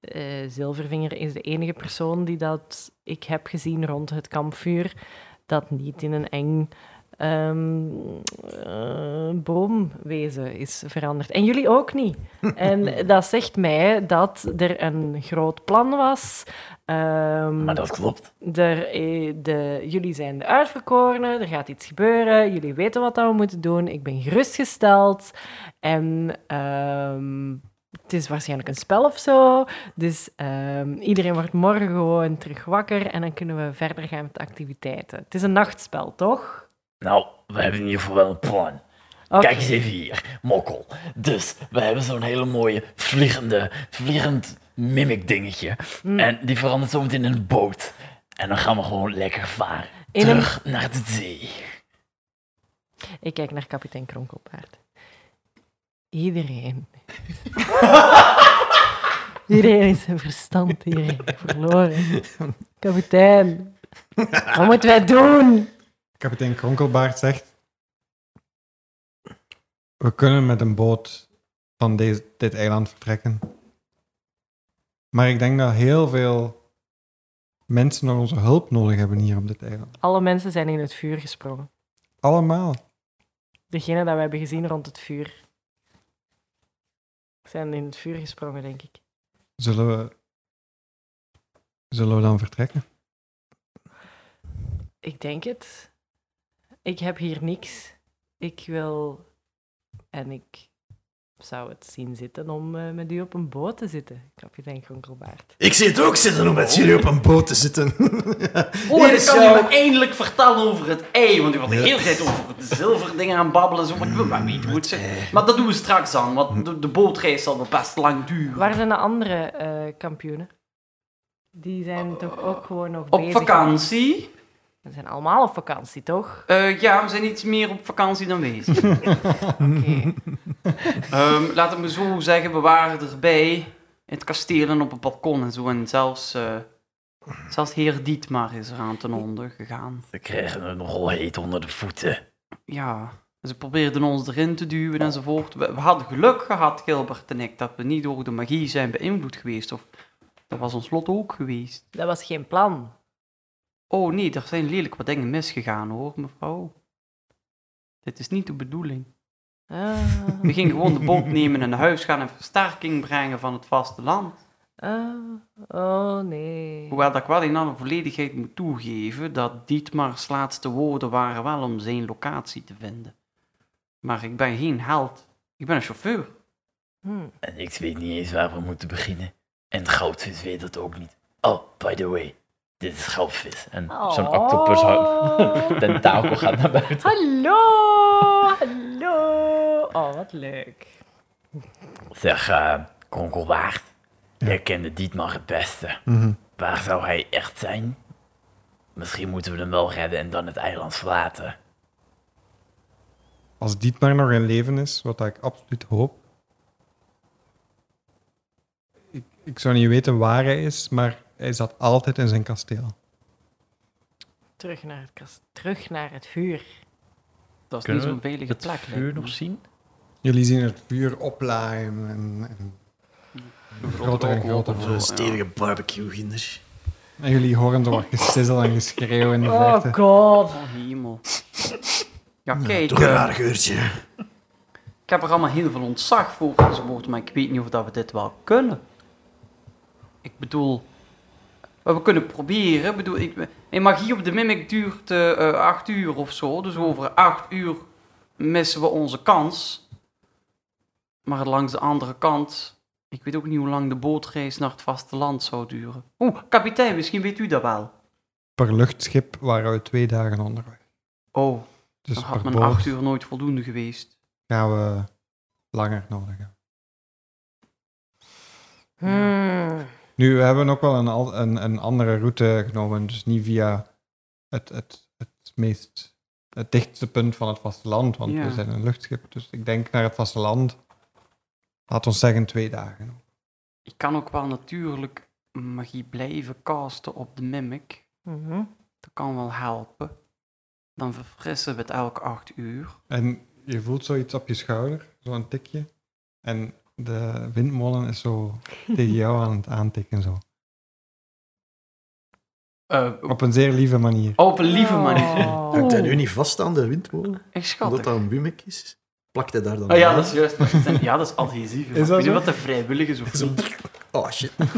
S4: eh, Zilvervinger is de enige persoon die dat ik heb gezien rond het kampvuur dat niet in een eng ehm, eh, boomwezen is veranderd. En jullie ook
S5: (laughs)
S4: niet. En dat zegt mij dat er een groot plan was. Ehm,
S5: Maar dat klopt.
S4: er, eh, de, jullie zijn de uitverkorenen, er gaat iets gebeuren, jullie weten wat dat we moeten doen, ik ben gerustgesteld en ehm, het is waarschijnlijk een spel of zo. Dus ehm, iedereen wordt morgen gewoon terug wakker en dan kunnen we verder gaan met de activiteiten. Het is een nachtspel, toch?
S5: Nou, we hebben in ieder geval wel een plan.
S4: Oké.
S5: Kijk eens even hier, mokkel. Dus, we hebben zo'n hele mooie vliegende, vliegend mimic dingetje.
S4: Hmm.
S5: En die verandert zo meteen in een boot. En dan gaan we gewoon lekker varen.
S4: In een-
S5: Terug naar de zee.
S4: Ik kijk naar kapitein Kronkelpaard. Iedereen. iedereen is zijn verstand hier verloren. Kapitein, wat moeten wij doen?
S1: Kapitein Kronkelbaard zegt... We kunnen met een boot van deze, dit eiland vertrekken. Maar ik denk dat heel veel mensen nog onze hulp nodig hebben hier op dit eiland.
S4: Alle mensen zijn in het vuur gesprongen.
S1: Allemaal.
S4: Degene dat we hebben gezien rond het vuur. Zijn in het vuur gesprongen, denk ik.
S1: Zullen we, zullen we dan vertrekken?
S4: Ik denk het. Ik heb hier niks. Ik wil. En ik zou het zien zitten om eh, met u op een boot te zitten, kapitein Kronkelbaard.
S2: Ik zie het ook zitten om met jullie op een boot te (laughs) zitten.
S3: Oh,
S2: Hier
S3: en
S2: is
S3: ik kan hij
S2: jouw-
S3: me eindelijk vertellen over het ei. Want die was de hele tijd over het zilverding aan babbelen. Zo, maar
S2: Mm,
S3: ik wil maar niet hoe het zit.
S2: eh,
S3: Maar dat doen we straks aan, want de, de bootreis zal nog best lang duren.
S4: Waar zijn de andere eh, kampioenen? Die zijn toch ook gewoon nog
S3: Op
S4: bezig?
S3: vakantie?
S4: We zijn allemaal op vakantie,
S3: (laughs)
S4: toch?
S3: Eh, ja, we zijn iets meer op vakantie dan wezen.
S4: Oké.
S3: Ehm laat het me zo zeggen, we waren erbij. In het kasteel en op het balkon en zo. En zelfs, eh, zelfs heer Dietmar is eraan ten onder gegaan.
S5: We kregen het nogal heet onder de voeten.
S3: Ja, ze probeerden ons erin te duwen enzovoort. We, we hadden geluk gehad, Gilbert en ik, dat we niet door de magie zijn beïnvloed geweest. Of dat was ons lot ook geweest.
S4: Dat was geen plan.
S3: Oh nee, er zijn lelijk wat dingen misgegaan hoor, mevrouw. Dit is niet de bedoeling.
S4: Ah,
S3: We gingen gewoon de boot nemen en naar huis gaan en versterking brengen van het vasteland.
S4: ah, oh nee.
S3: Hoewel dat ik wel in alle volledigheid moet toegeven dat Dietmar's laatste woorden waren wel om zijn locatie te vinden. Maar ik ben geen held. Ik ben een chauffeur.
S4: Hm.
S5: En ik weet niet eens waar we moeten beginnen. En goudvis weet dat ook niet. Oh, by the way. Dit is goudvis.
S7: En zo'n
S4: Oh.
S7: octopus
S4: (laughs)
S7: houdt- tentakel gaat naar buiten.
S4: Hallo, hallo. Oh, wat leuk.
S5: Zeg, eh Kronkelwaard. Jij kende Dietmar het beste. Waar zou hij echt zijn? Misschien moeten we hem wel redden en dan het eiland verlaten.
S1: Als Dietmar nog in leven is, wat ik absoluut hoop. Ik, ik zou niet weten waar hij is, maar hij zat altijd in zijn kasteel.
S4: Terug naar het kast, terug naar het vuur.
S3: Dat is
S7: Kunnen
S3: niet
S7: we
S3: zo'n veilige
S7: het
S3: plek.
S7: vuur nog zien?
S1: Jullie zien het vuur oplaaien en, en, groter en groter.
S2: Zo'n stevige barbecue ginder.
S1: En jullie horen zo wat gesizzel en geschreeuw in de verte.
S4: Oh
S1: eh,
S4: god.
S3: Oh, hemel. Ja, kijk,
S2: Toch een
S3: eh,
S2: raar geurtje.
S3: ik heb er allemaal heel veel ontzag voor enzovoort, maar ik weet niet of dat we dit wel kunnen. Ik bedoel, maar we kunnen proberen. Ik bedoel, ik, en magie op de mimic duurt eh, eh, acht uur of zo, dus over acht uur missen we onze kans. Maar langs de andere kant, ik weet ook niet hoe lang de bootreis naar het vasteland zou duren. Oeh, kapitein, misschien weet u dat wel.
S1: Per luchtschip waren we twee dagen onderweg.
S3: Oh,
S1: Dus
S3: dan had
S1: per
S3: mijn acht
S1: boot
S3: uur nooit voldoende geweest.
S1: gaan we langer nodig hebben.
S4: Hmm.
S1: Nu, we hebben ook wel een, al- een, een andere route genomen, dus niet via het, het, het meest het dichtste punt van het vasteland, want
S3: Ja.
S1: we zijn een luchtschip. Dus ik denk naar het vasteland, laat ons zeggen twee dagen.
S3: Ik kan ook wel natuurlijk magie blijven casten op de mimic.
S4: Mhm.
S3: Dat kan wel helpen. Dan verfrissen we het elke acht uur.
S1: En je voelt zoiets op je schouder, zo'n tikje. En de windmolen is zo tegen jou aan het aantikken. Zo.
S3: Eh,
S1: Op een zeer lieve manier.
S3: op een lieve manier.
S4: Oh.
S2: Hangt hij nu niet vast aan de windmolen?
S3: Echt schattig.
S2: Omdat dat een bumek is? Plakt hij daar dan
S3: Oh ja,
S2: aan?
S3: dat is juist. maar het zijn- Ja, dat is adhesief.
S1: Is
S3: Is
S1: dat
S3: Weet je
S1: zo?
S3: wat de vrijwilligers of
S2: Zo.
S3: niet?
S2: Oh shit.
S3: Ik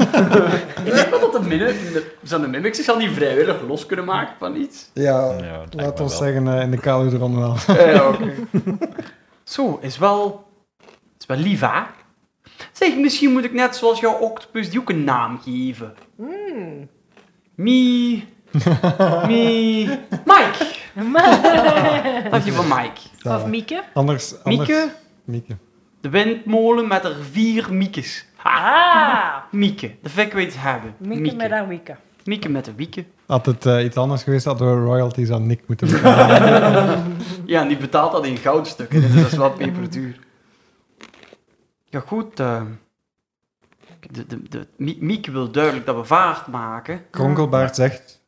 S3: denk wel dat de, min- zijn de mimics zich al niet vrijwillig los kunnen maken van iets.
S1: Ja,
S7: Ja, dat lijkt
S1: laat
S7: me
S1: ons
S7: wel.
S1: zeggen, eh, in de kaluderon (laughs) wel.
S3: Ja, Eh,
S4: (laughs)
S3: oké. Zo, is wel... Is wel lief, hè? Zeg, misschien moet ik net zoals jouw octopus die ook een naam geven.
S4: Hmm.
S3: Mie... Mie... Mike! Wat je van Mike?
S4: (laughs) Of Mieke?
S1: Anders, anders.
S3: Mieke,
S1: Mieke.
S3: de windmolen met er vier Miekes. Ha,
S4: Ah,
S3: Mieke, dat vind ik weet hebben.
S4: Mieke, met haar Wieke.
S3: Mieke met de wieken.
S1: Had het eh, iets anders geweest, hadden we royalties aan Nick moeten (laughs) betalen.
S3: Ja, en die betaalt dat in goudstukken, dus dat is wel peperduur. Ja, goed. eh, de, de, de, Mie- Mieke wil duidelijk dat we vaart maken.
S1: Kronkelbaard zegt: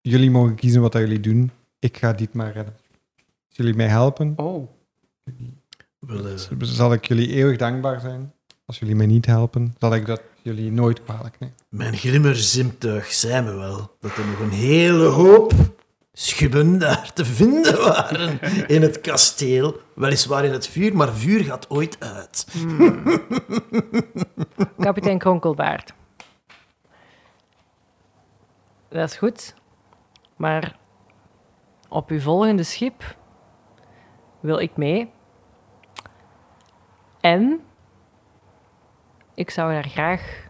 S1: Jullie mogen kiezen wat dat jullie doen. Ik ga dit maar redden. Als jullie mij helpen,
S3: Oh,
S2: Willen ze-
S1: zal ik jullie eeuwig dankbaar zijn. Als jullie mij niet helpen, zal ik dat jullie nooit kwalijk nemen.
S2: Mijn glimmerzimtuig zei me wel dat er nog een hele hoop schubben daar te vinden waren in het kasteel. Weliswaar in het vuur, maar vuur gaat ooit uit.
S4: Kapitein Kronkelbaard. Dat is goed. Maar op uw volgende schip wil ik mee. En ik zou daar graag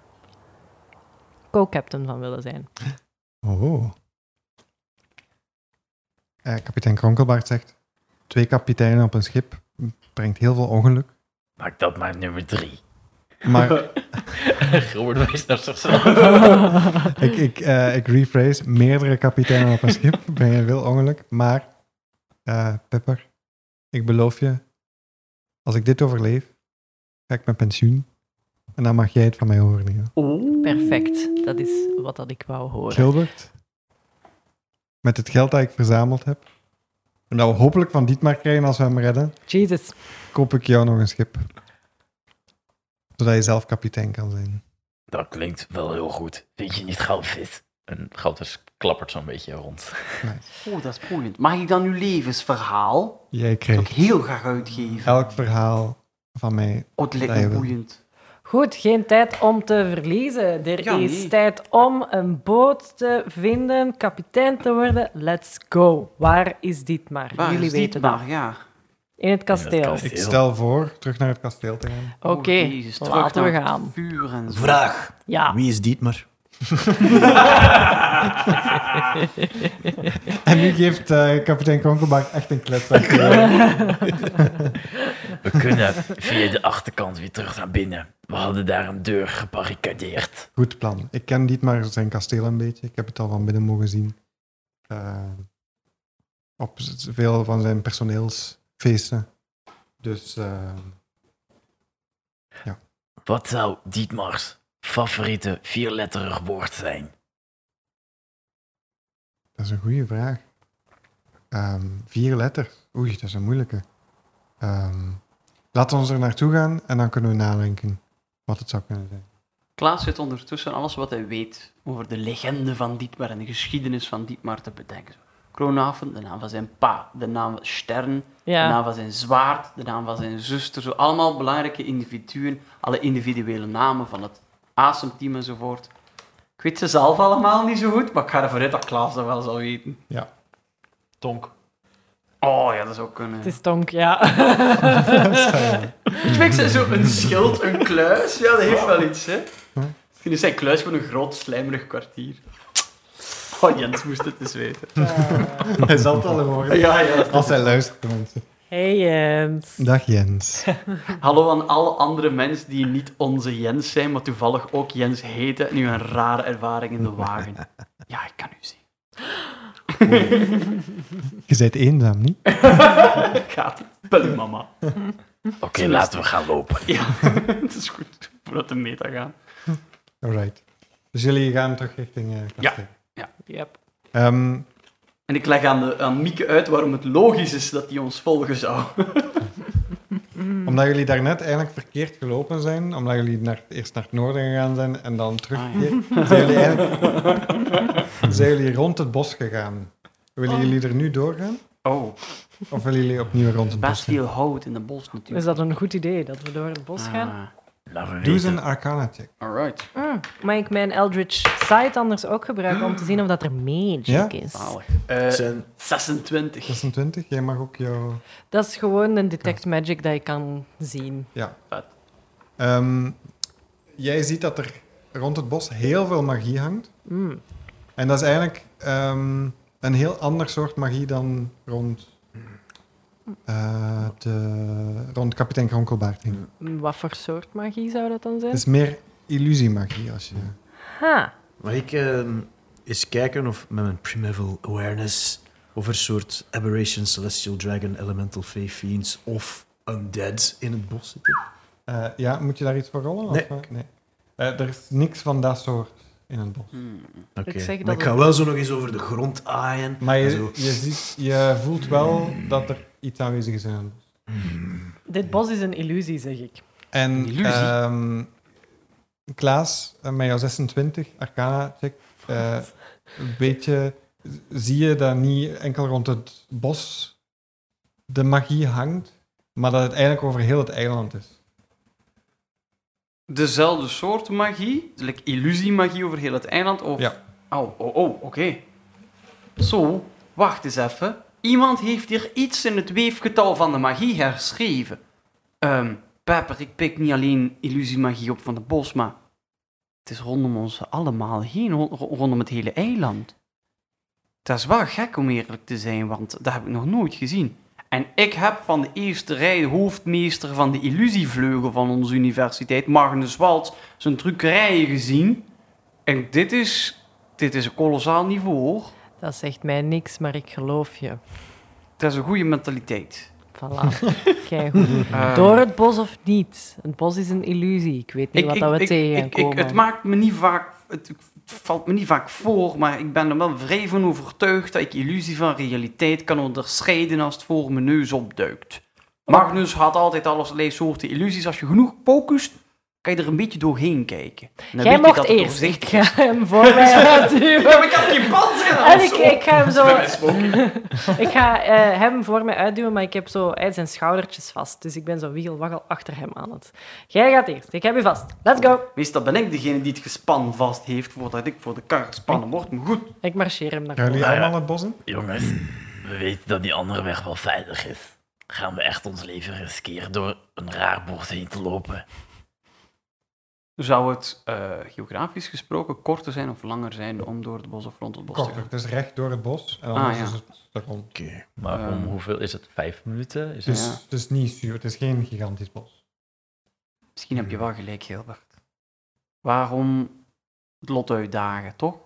S4: co-captain van willen zijn.
S1: Oh. Eh, kapitein Kronkelbaard zegt: Twee kapiteinen op een schip brengt heel veel ongeluk.
S5: Maak dat maar nummer
S7: (laughs)
S5: drie.
S1: Maar
S7: Gilbert wijst naar zichzelf.
S1: ik, ik, eh, ik rephrase: meerdere kapiteinen op een schip (laughs) brengen veel ongeluk. Maar, eh, Pepper, ik beloof je, als ik dit overleef, ga ik met pensioen. En dan mag jij het van mij overnemen.
S3: Oh,
S4: Perfect. Dat is wat dat ik wou horen.
S1: Gilbert, met het geld dat ik verzameld heb, en dat we hopelijk van Dietmar krijgen als we hem redden,
S4: Jesus.
S1: koop ik jou nog een schip. Zodat je zelf kapitein kan zijn.
S5: (laughs) Dat klinkt wel heel goed. Vind je niet goudvis?
S7: En Gouders klappert zo'n beetje
S5: (laughs)
S7: rond.
S3: oh, dat is boeiend. Mag ik dan uw levensverhaal
S1: Jij
S3: dat ik
S1: krijgt
S3: heel graag uitgeven?
S1: elk verhaal van mij.
S3: Oh, het lijkt
S1: Ja,
S3: me
S1: jawel.
S3: boeiend.
S4: Goed, geen tijd om te verliezen. Er
S3: Ja,
S4: is
S3: nee.
S4: tijd om een boot te vinden, kapitein te worden. Let's go. Waar is dit maar?
S3: Waar
S4: Jullie
S3: is dit
S4: weten dat.
S3: maar, ja.
S4: In het kasteel.
S7: kasteel.
S1: Ik stel voor terug naar het kasteel te gaan.
S4: Oké,
S3: Oh, Jezus,
S4: dan
S3: terug
S4: laten we
S3: naar het
S4: gaan.
S3: Vuur en zo.
S2: Vraag,
S3: (laughs)
S4: Ja.
S2: wie is Dietmar?
S1: En nu geeft eh, kapitein Konkelbach echt een klets. aan Gilbert.
S5: We kunnen via de achterkant weer terug naar binnen. We hadden daar een deur gebarricadeerd.
S1: Goed plan. Ik ken Dietmar zijn kasteel een beetje. Ik heb het al van binnen mogen zien. Eh, op z- veel van zijn personeelsfeesten. Dus eh,
S5: Wat zou Dietmar's favoriete vierletterig woord zijn?
S1: dat is een goede vraag. Ehm, vier letters. Oei, dat is een moeilijke. Ehm laten we er naartoe gaan en dan kunnen we nadenken wat het zou kunnen zijn.
S3: Klaas zit ondertussen alles wat hij weet over de legende van Dietmar en de geschiedenis van Dietmar te bedenken. Kroonhaven, de naam van zijn pa, de naam van Stern, de
S4: Ja.
S3: naam van zijn zwaard, de naam van zijn zuster. Zo allemaal belangrijke individuen, alle individuele namen van het ASEM-team enzovoort. Ik weet ze zelf allemaal niet zo goed, maar ik ga ervan uit dat Klaas dat wel zal weten.
S1: Ja.
S7: Tonk.
S3: Oh ja, dat zou kunnen.
S4: Het is tonk, ja.
S3: Ik weet ze zo een schild, een kluis. Ja, dat heeft wel iets, hè. Misschien is zijn kluis gewoon een groot, slijmerig kwartier. Oh, Jens moest het eens weten.
S1: (laughs) Hij zal het wel horen.
S3: Ja, ja.
S1: Als hij luistert, mensen.
S4: Hey Jens.
S1: Dag Jens.
S3: Hallo aan alle andere mensen die niet onze Jens zijn, maar toevallig ook Jens heten en nu een rare ervaring in de wagen. (laughs) Ja, ik kan u zien.
S1: Je bent eenzaam, niet?
S3: Gaat het? Bel uw mama. (laughs)
S5: Oké, laten we gaan lopen.
S3: Ja, het is goed. Voordat de meta gaan.
S1: Alright. Dus jullie gaan terug richting eh, kasteel.
S4: Yep.
S1: Ehm,
S3: En ik leg aan, de, aan Mieke uit waarom het logisch is dat hij ons volgen zou.
S1: Omdat jullie daarnet eigenlijk verkeerd gelopen zijn, omdat jullie naar, eerst naar het noorden gegaan zijn en dan teruggekeerd, zijn, jullie eigenlijk, zijn jullie rond het bos gegaan. Willen jullie er nu doorgaan?
S3: Oh,
S1: Of willen jullie opnieuw rond het bos
S3: best
S1: gaan?
S3: veel hout in de bos natuurlijk.
S4: Is dat een goed idee dat we door het bos
S3: Ah.
S4: gaan?
S5: Laten we
S1: Doe eens
S5: weten.
S1: een arcana check.
S3: Alright.
S4: Mm. Mag ik mijn Eldritch Sight anders ook gebruiken om te zien of dat er magic
S1: Ja?
S4: is?
S3: Zalig. Eh,
S2: Zijn
S3: 26.
S1: 26, jij mag ook jouw...
S4: Dat is gewoon een detect magic dat je kan zien.
S1: Ehm, jij ziet dat er rond het bos heel veel magie hangt.
S4: Mm.
S1: En dat is eigenlijk ehm, een heel ander soort magie dan rond, eh, de, rond kapitein Kronkelbaard heen.
S4: Wat voor soort magie zou dat dan zijn?
S1: Het is meer illusiemagie als je...
S4: Ha.
S2: Mag ik eh, eens kijken of met mijn primeval awareness of er soort aberration, celestial dragon, elemental fae fiends of undead in het bos zitten?
S1: Eh, ja, moet je daar iets voor rollen?
S2: Nee.
S1: Of, eh, nee. Eh, er is niks van dat soort in het bos.
S3: Hmm.
S2: Oké.
S4: zeg
S2: Maar
S4: dat
S2: ik ga
S4: het-
S2: wel zo nog eens over de grond aaien.
S1: Maar
S2: en
S1: je,
S2: zo.
S1: je, ziet, je voelt wel dat er iets aanwezig is in het bos.
S4: Dit bos is een illusie, zeg ik.
S1: En
S3: Illusie.
S1: ehm, Klaas, eh, met jouw 26 arcana check, eh, weet je, zie je dat niet enkel rond het bos de magie hangt, maar dat het eigenlijk over heel het eiland is.
S3: Dezelfde soort magie? Like illusiemagie over heel het eiland? Of...
S1: Ja.
S3: Oh, oh, oh oké. Zo, wacht eens even. Iemand heeft hier iets in het weefgetal van de magie herschreven. Ehm, Pepper, ik pik niet alleen illusiemagie op van de bos, maar... Het is rondom ons allemaal heen, ro- ro- rondom het hele eiland. Dat is wel gek om eerlijk te zijn, want dat heb ik nog nooit gezien. En ik heb van de eerste rij de hoofdmeester van de illusievleugel van onze universiteit, Magnus Waltz, zijn trucerijen gezien. En dit is, dit is een kolossaal niveau hoor.
S4: Dat zegt mij niks, maar ik geloof je.
S3: Dat is een goede mentaliteit.
S4: Voilà. Kijk goed.
S3: Eh,
S4: Door het bos of niet? Het bos is een illusie. Ik weet niet wat dat we
S3: ik-
S4: tegen
S3: ik- ik-
S4: tegenkomen.
S3: Het maakt me niet vaak, het valt me niet vaak voor, maar ik ben er wel vrij van overtuigd dat ik illusie van realiteit kan onderscheiden als het voor mijn neus opduikt. Magnus had altijd allerlei soorten illusies. Als je genoeg focust, kan je er een beetje doorheen kijken. En dan
S4: Jij
S3: weet je
S4: mocht
S3: dat het
S4: eerst. Ik
S3: overzichtelijk
S4: ga hem voor mij
S3: Ja,
S4: uitduwen.
S3: maar ik had geen pand
S4: (laughs)
S3: gedaan.
S4: En ik, ik ga hem zo... (laughs) ik ga eh, hem voor mij uitduwen, maar ik heb zo hij heeft zijn schoudertjes vast. Dus ik ben zo wiegelwaggel achter hem aan het... Jij gaat eerst. Ik heb je vast. Let's go.
S3: Meestal ben ik degene die het gespan vast heeft voordat ik voor de kar gespannen word. Maar goed,
S4: Ik marcheer hem naar
S1: Gaan jullie
S4: voren.
S1: allemaal het bos in?
S5: Jongens, we weten dat die andere weg wel veilig is. Gaan we echt ons leven riskeren door een raar bord heen te lopen?
S3: zou het eh, geografisch gesproken korter zijn of langer zijn om door het bos of rond het bos te
S1: Korter,
S3: gaan?
S1: dus recht door het bos en anders
S3: Ah, ja.
S1: is het er rond.
S2: Oké.
S7: Maar om
S3: Ehm.
S7: hoeveel is het? Vijf minuten? Is het...
S1: Dus
S3: Ja.
S1: het is niet zuur, het is geen gigantisch bos.
S3: Misschien heb je wel gelijk, Gilbert. Waarom het lot uitdagen, toch?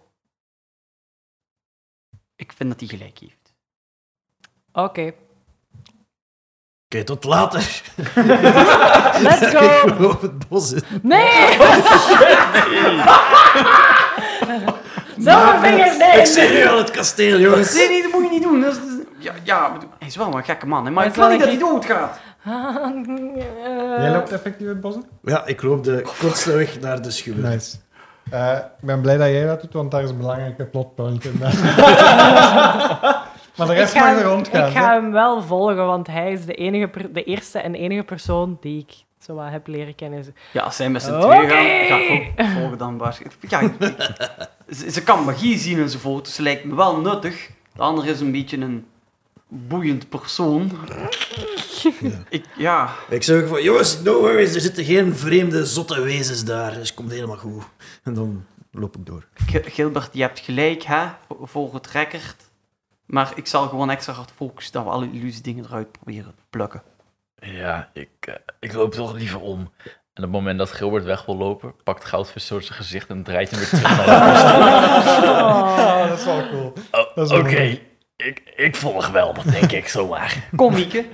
S3: Ik vind dat hij gelijk heeft.
S4: Oké.
S2: Oké, tot later.
S4: Let's go.
S2: Op het bos. in.
S4: Nee! Zo'n vinger, (laughs)
S2: Ik
S4: nee!
S2: zit nu aan het kasteel, jongens.
S3: Nee, nee, dat moet je niet doen. Dat is- ja, ja, ik bedoel, hij is wel een gekke man, hè, maar
S4: Hij
S3: ik
S4: is
S3: wil
S4: wel
S3: niet dat hij
S4: een
S3: doodgaat.
S4: Eh,
S1: Jij loopt effectief het bos in?
S2: Ja, ik loop de kortste weg naar de schuur.
S1: Nice. Eh, ik ben blij dat jij dat doet, want daar is een belangrijke plotpoint (laughs) in. maar de
S4: Ik
S1: rest
S4: ga,
S1: mag er
S4: hem,
S1: rond gaan.
S4: ik ga hem wel volgen, want hij is de, enige, per- de eerste en enige persoon die ik zo wat heb leren kennen.
S3: Ja, als zij met z'n
S4: Oké.
S3: tweeën gaan, ga ik ook volgen dan waarschijnlijk. Ja, ik- (laughs) ik- ze, ze kan magie zien enzovoort, dus ze lijkt me wel nuttig. De andere is een beetje een boeiend persoon. Ik, ja,
S2: Ik zeg ook van, jongens, no worries, er zitten geen vreemde zotte wezens daar. Dus het komt helemaal goed. En dan loop ik door.
S3: G- Gilbert, je hebt gelijk, hè, vo- voor het record. Maar ik zal gewoon extra hard focussen dat we alle illusie dingen eruit proberen te plukken.
S7: Ja, ik, eh, ik loop toch liever om. En op het moment dat Gilbert weg wil lopen, pakt Goudvis zo zijn gezicht en draait hem weer
S1: (laughs)
S7: terug naar de
S1: Ah, dat is wel cool.
S5: Oh,
S1: Dat is
S5: Oké,
S1: wel
S5: ik, ik volg wel, denk ik zomaar.
S3: Kom, Mieke. (laughs)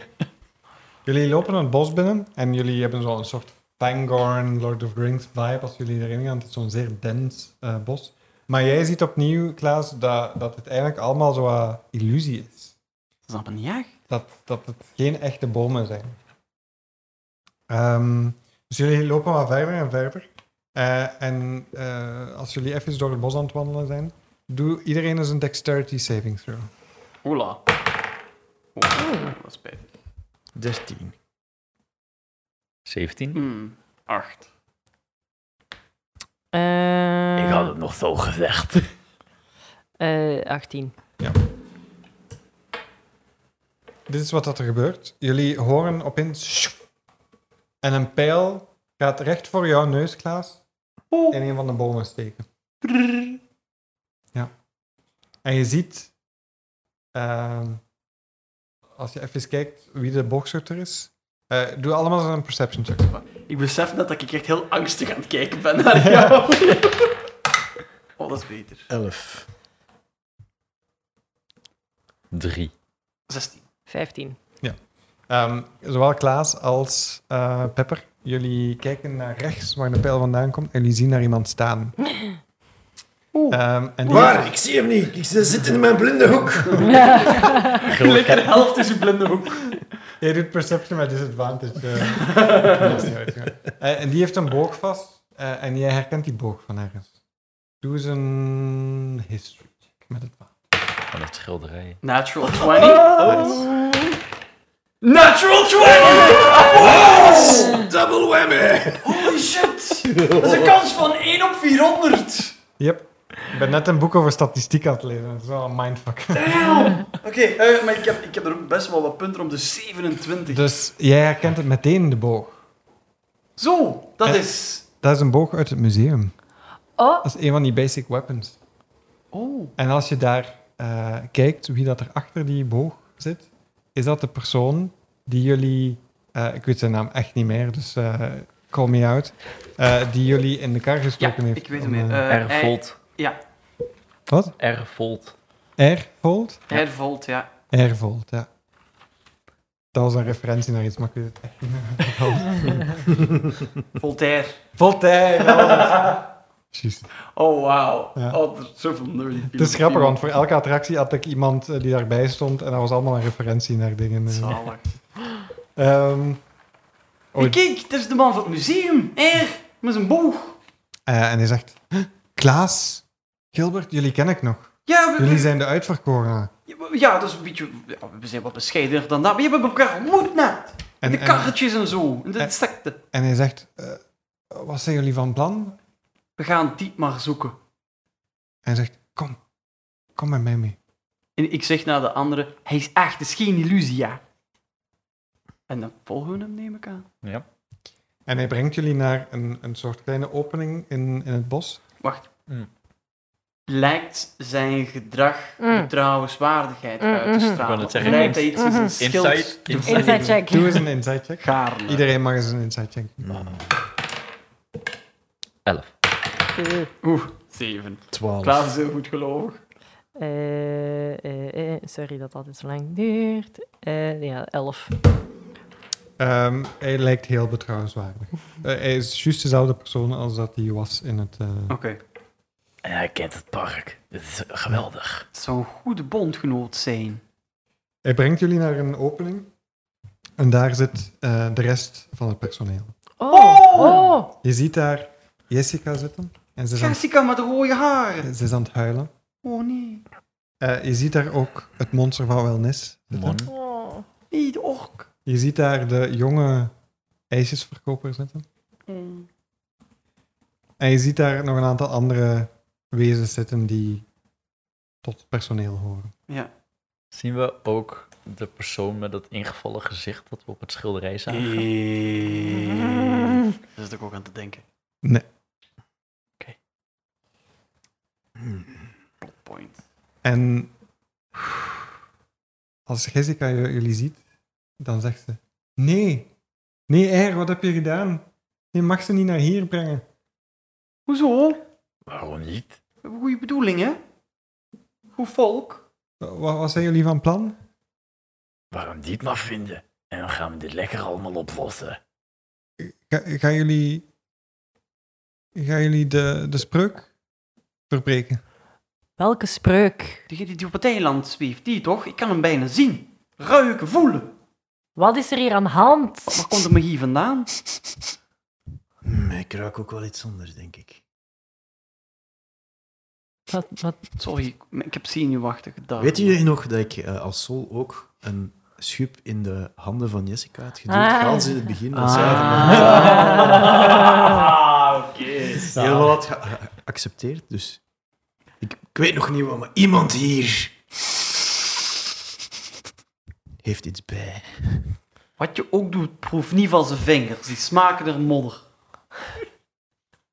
S1: Jullie lopen het bos binnen en jullie hebben zo'n soort Pangorn, Lord of the Rings vibe als jullie erin gaan. Het is zo'n zeer dens eh, bos. Maar jij ziet opnieuw, Klaas, dat, dat het eigenlijk allemaal zo'n illusie is.
S3: Dat is dat een jacht?
S1: Dat, dat het geen echte bomen zijn. Ehm, dus jullie lopen maar verder en verder. Eh, en eh, als jullie even door het bos aan het wandelen zijn, doe iedereen eens een dexterity saving throw.
S3: Oela. Oeh, wat spijt.
S2: 13.
S7: 17?
S3: Hmm, acht.
S4: Eh,
S5: Ik had het nog zo gezegd.
S4: eh, 18.
S1: Dit is wat dat er gebeurt. Jullie horen opeens... sjoep. En een pijl gaat recht voor jouw neus, Klaas. In een van de bomen steken. Ja. En je ziet... ehm, als je even kijkt wie de boogschutter is... eh, doe allemaal eens een perception check.
S3: Ik besef net dat ik echt heel angstig aan het kijken ben naar jou. (laughs) Oh, dat is beter.
S2: 11.
S7: 3.
S3: 16.
S4: 15.
S1: Ehm, zowel Klaas als eh, Pepper, jullie kijken naar rechts waar de pijl vandaan komt en jullie zien daar iemand staan. Ehm, en die-
S2: Waar? Ik zie hem niet. Ik z- zit in mijn blinde hoek.
S3: Gelukkig de helft is een blinde hoek.
S1: Jij doet perception met disadvantage. eh. Dat is niet uit, ja. Eh, en die heeft een boog vast eh, en jij herkent die boog van ergens. Doe eens een history check met het wapen.
S7: Van het schilderijen.
S3: Natural 20. Natural 20!
S2: Double whammy.
S3: Holy shit! Dat is een kans van 1 op 400.
S1: Yep. Ik ben net een boek over statistiek aan het lezen. Dat is wel een mindfuck.
S3: Damn! Oké, eh, maar ik heb, ik heb er ook best wel wat punten om de 27.
S1: Dus (laughs) jij herkent het meteen, de boog.
S3: Zo, dat
S1: Eh.
S3: is...
S1: Dat is een boog uit het museum.
S4: Oh,
S1: Dat is een van die basic weapons.
S3: Oh.
S1: En als je daar eh, kijkt, wie dat er achter die boog zit, is dat de persoon die jullie, eh, ik weet zijn naam echt niet meer, dus eh, call me out, eh, die jullie in de kar
S3: Ja,
S1: gestoken heeft.
S3: ik weet hem
S1: om,
S3: meer.
S1: eh,
S3: Eh,
S7: R
S3: hij-
S7: volt.
S3: Ja,
S1: wat?
S7: R volt.
S1: Airvolt?
S3: hervolt, ja.
S1: Airvolt, ja. Dat was een referentie naar iets, maar ik weet het echt niet meer. (laughs)
S3: Voltaire.
S1: Voltaire! Juist.
S3: Oh, wauw.
S1: Ja.
S3: Oh, er is zoveel nerdy
S1: Het is grappig, want voor elke attractie had ik iemand eh, die daarbij stond en dat was allemaal een referentie naar dingen. eh.
S3: Zalig.
S1: Ehm,
S3: Hey, kijk, dat is de man van het museum. Er, met zijn boog.
S1: Eh, en hij zegt: "Huh, Klaas, Gilbert, jullie ken ik nog.
S3: Ja, we,
S1: Jullie zijn de uitverkorenen.
S3: ja, dat is een beetje... ja, we zijn wat bescheidener dan dat. Maar je hebt elkaar ontmoet net.
S1: En,
S3: de
S1: en,
S3: karretjes en zo. En de
S1: en-
S3: insecten.
S1: en hij zegt: "Eh, Wat zijn jullie van plan?
S3: We gaan Diep maar zoeken.
S1: En hij zegt: Kom, kom met mij mee.
S3: En ik zeg naar de andere, hij is echt, het is geen illusie, ja. En dan volgen we hem, neem ik aan.
S1: En hij brengt jullie naar een, een soort kleine opening in, in het bos.
S3: Wacht.
S7: Mm.
S3: Lijkt zijn gedrag
S4: Mm.
S3: betrouwenswaardigheid
S4: Mm,
S3: uit te
S4: mhm.
S7: Ik
S3: stralen?
S7: wou net zeggen,
S3: Lijkt hij iets in zijn
S4: mhm.
S3: schild
S7: Insight,
S3: te
S7: insight.
S4: inside
S3: vinden?
S4: check.
S1: Doe eens
S3: (laughs)
S1: een inside (laughs) check.
S3: Gaarne.
S1: Iedereen mag eens een inside check.
S7: 11.
S3: Oeh, zeven.
S2: 12.
S3: Klaas is heel goed gelovig.
S4: Eh, eh, eh, sorry dat altijd zo lang duurt. Eh, ja, 11.
S1: Ehm, hij lijkt heel betrouwenswaardig. Eh, hij is juist dezelfde persoon als dat hij was in het. eh,
S3: Oké.
S5: En hij kent het park. Dit is geweldig.
S3: Het zou een goede bondgenoot zijn.
S1: Hij brengt jullie naar een opening. En daar zit eh, de rest van het personeel.
S4: Oh! oh.
S1: Je ziet daar Jessica zitten. En ze is aan,
S3: Jessica met de rode haren.
S1: ze is aan het huilen.
S3: Oh nee.
S1: Eh, je ziet daar ook het monster van Wellness. zitten.
S7: Man.
S4: Oh.
S3: Nee, de ork.
S1: Je ziet daar de jonge ijsjesverkoper zitten. En je ziet daar nog een aantal andere wezens zitten die tot het personeel horen.
S3: Ja.
S7: Zien we ook de persoon met dat ingevallen gezicht dat we op het schilderij zagen?
S3: Eh, Daar zit ik ook aan te denken.
S1: Nee.
S3: Oké. Hmm. Plot point.
S1: En als Jessica j- jullie ziet, dan zegt ze: Nee, nee, Er, wat heb je gedaan? Je mag ze niet naar hier brengen.
S3: Hoezo?
S5: Waarom niet?
S3: We hebben goede bedoelingen. Goed volk.
S1: Wa- wa- wat zijn jullie van plan?
S5: Waarom dit maar vinden? En dan gaan we dit lekker allemaal oplossen.
S1: Ga- gaan jullie, gaan jullie de, de spreuk verbreken?
S4: Welke spreuk?
S3: Degene die op het eiland zweeft, die toch? Ik kan hem bijna zien. Ruiken, voelen.
S4: Wat is er hier aan de hand?
S3: Waar komt de magie vandaan?
S2: Hm, ik ruik ook wel iets anders, denk ik.
S4: Wat, wat?
S3: Sorry, ik- ik heb zenuwachtige dagen.
S2: Weet jullie nog dat ik eh, als Sol ook een schub in de handen van Jessica had geduwd?
S4: Ah.
S2: Gans in het begin. Dat zij
S4: Ah.
S6: Ah, oké.
S2: dat helemaal had ge- ge- geaccepteerd. Dus ik, ik weet nog niet wat, maar iemand hier heeft iets bij.
S3: Wat je ook doet, proef niet van zijn vingers. Die smaken er modder.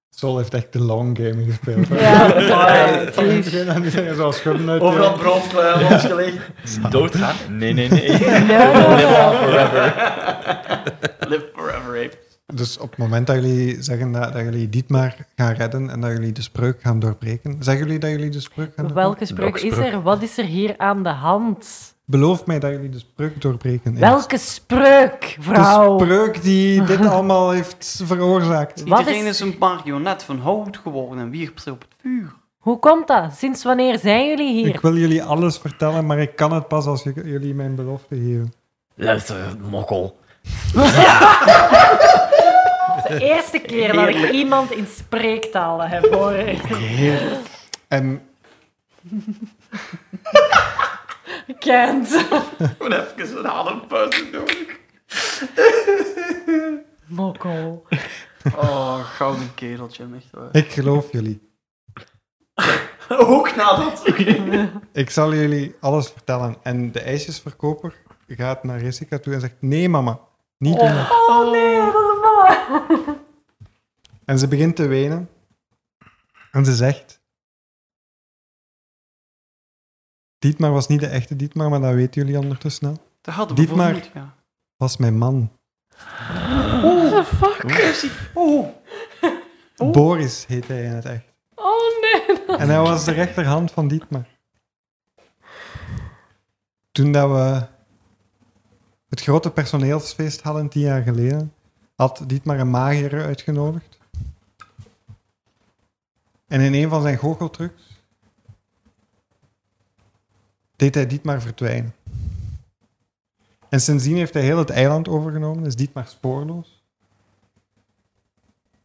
S1: Sol heeft echt de long game gespeeld. hè.
S4: (laughs) Ja.
S1: Van het begin aan die dingen zoals schubben uit.
S6: (laughs) Overal brandkluiven losgelegd.
S7: Doodgaan? Nee,
S3: (laughs) Ehm,
S7: nee, nee.
S6: Live forever, ape.
S1: Dus op het moment dat jullie zeggen dat, dat jullie Dietmar gaan redden en dat jullie de spreuk gaan doorbreken, zeggen jullie dat jullie de spreuk gaan doorbreken?
S4: Welke spreuk is er? Wat is er hier aan de hand?
S1: Beloof mij dat jullie de spreuk doorbreken. Iris.
S4: Welke spreuk, vrouw?
S1: De spreuk
S4: (laughs)
S1: die dit allemaal heeft veroorzaakt.
S4: Wat
S3: Iedereen
S4: is-
S3: is... een marionet van hout geworden en wierp zich op het vuur.
S4: Hoe komt dat? Sinds wanneer zijn jullie
S1: Ik
S4: hier?
S1: wil jullie alles vertellen, maar ik kan het pas als j- jullie mijn belofte geven.
S5: Luister, mokkel.
S1: (laughs)
S4: De eerste keer dat ik iemand in spreektalen heb horen. (laughs)
S1: En
S4: Kent.
S6: Gewoon even een adempauze doen.
S4: Mokkel.
S3: Oh, gouden kereltje, echt waar.
S1: ik geloof jullie.
S6: Ook nadat.
S3: (laughs)
S1: Ik zal jullie alles vertellen. En de ijsjesverkoper gaat naar Jessica toe en zegt: Nee, mama, niet doen. dat."
S4: Oh nee, dat is waar.
S1: (laughs) En ze begint te wenen. En ze zegt: Dietmar was niet de echte Dietmar, maar dat weten jullie ondertussen al.
S3: Dat hadden we
S1: Dietmar.
S3: vermoed, ja.
S1: Was mijn man.
S3: Is die- Oh,
S1: Boris heet hij in het echt.
S4: Oh nee.
S1: En hij was de rechterhand van Dietmar. Toen dat we het grote personeelsfeest hadden, tien jaar geleden, had Dietmar een magier uitgenodigd. En in een van zijn goocheltrucs deed hij Dietmar verdwijnen. En sindsdien heeft hij heel het eiland overgenomen, is Dietmar spoorloos.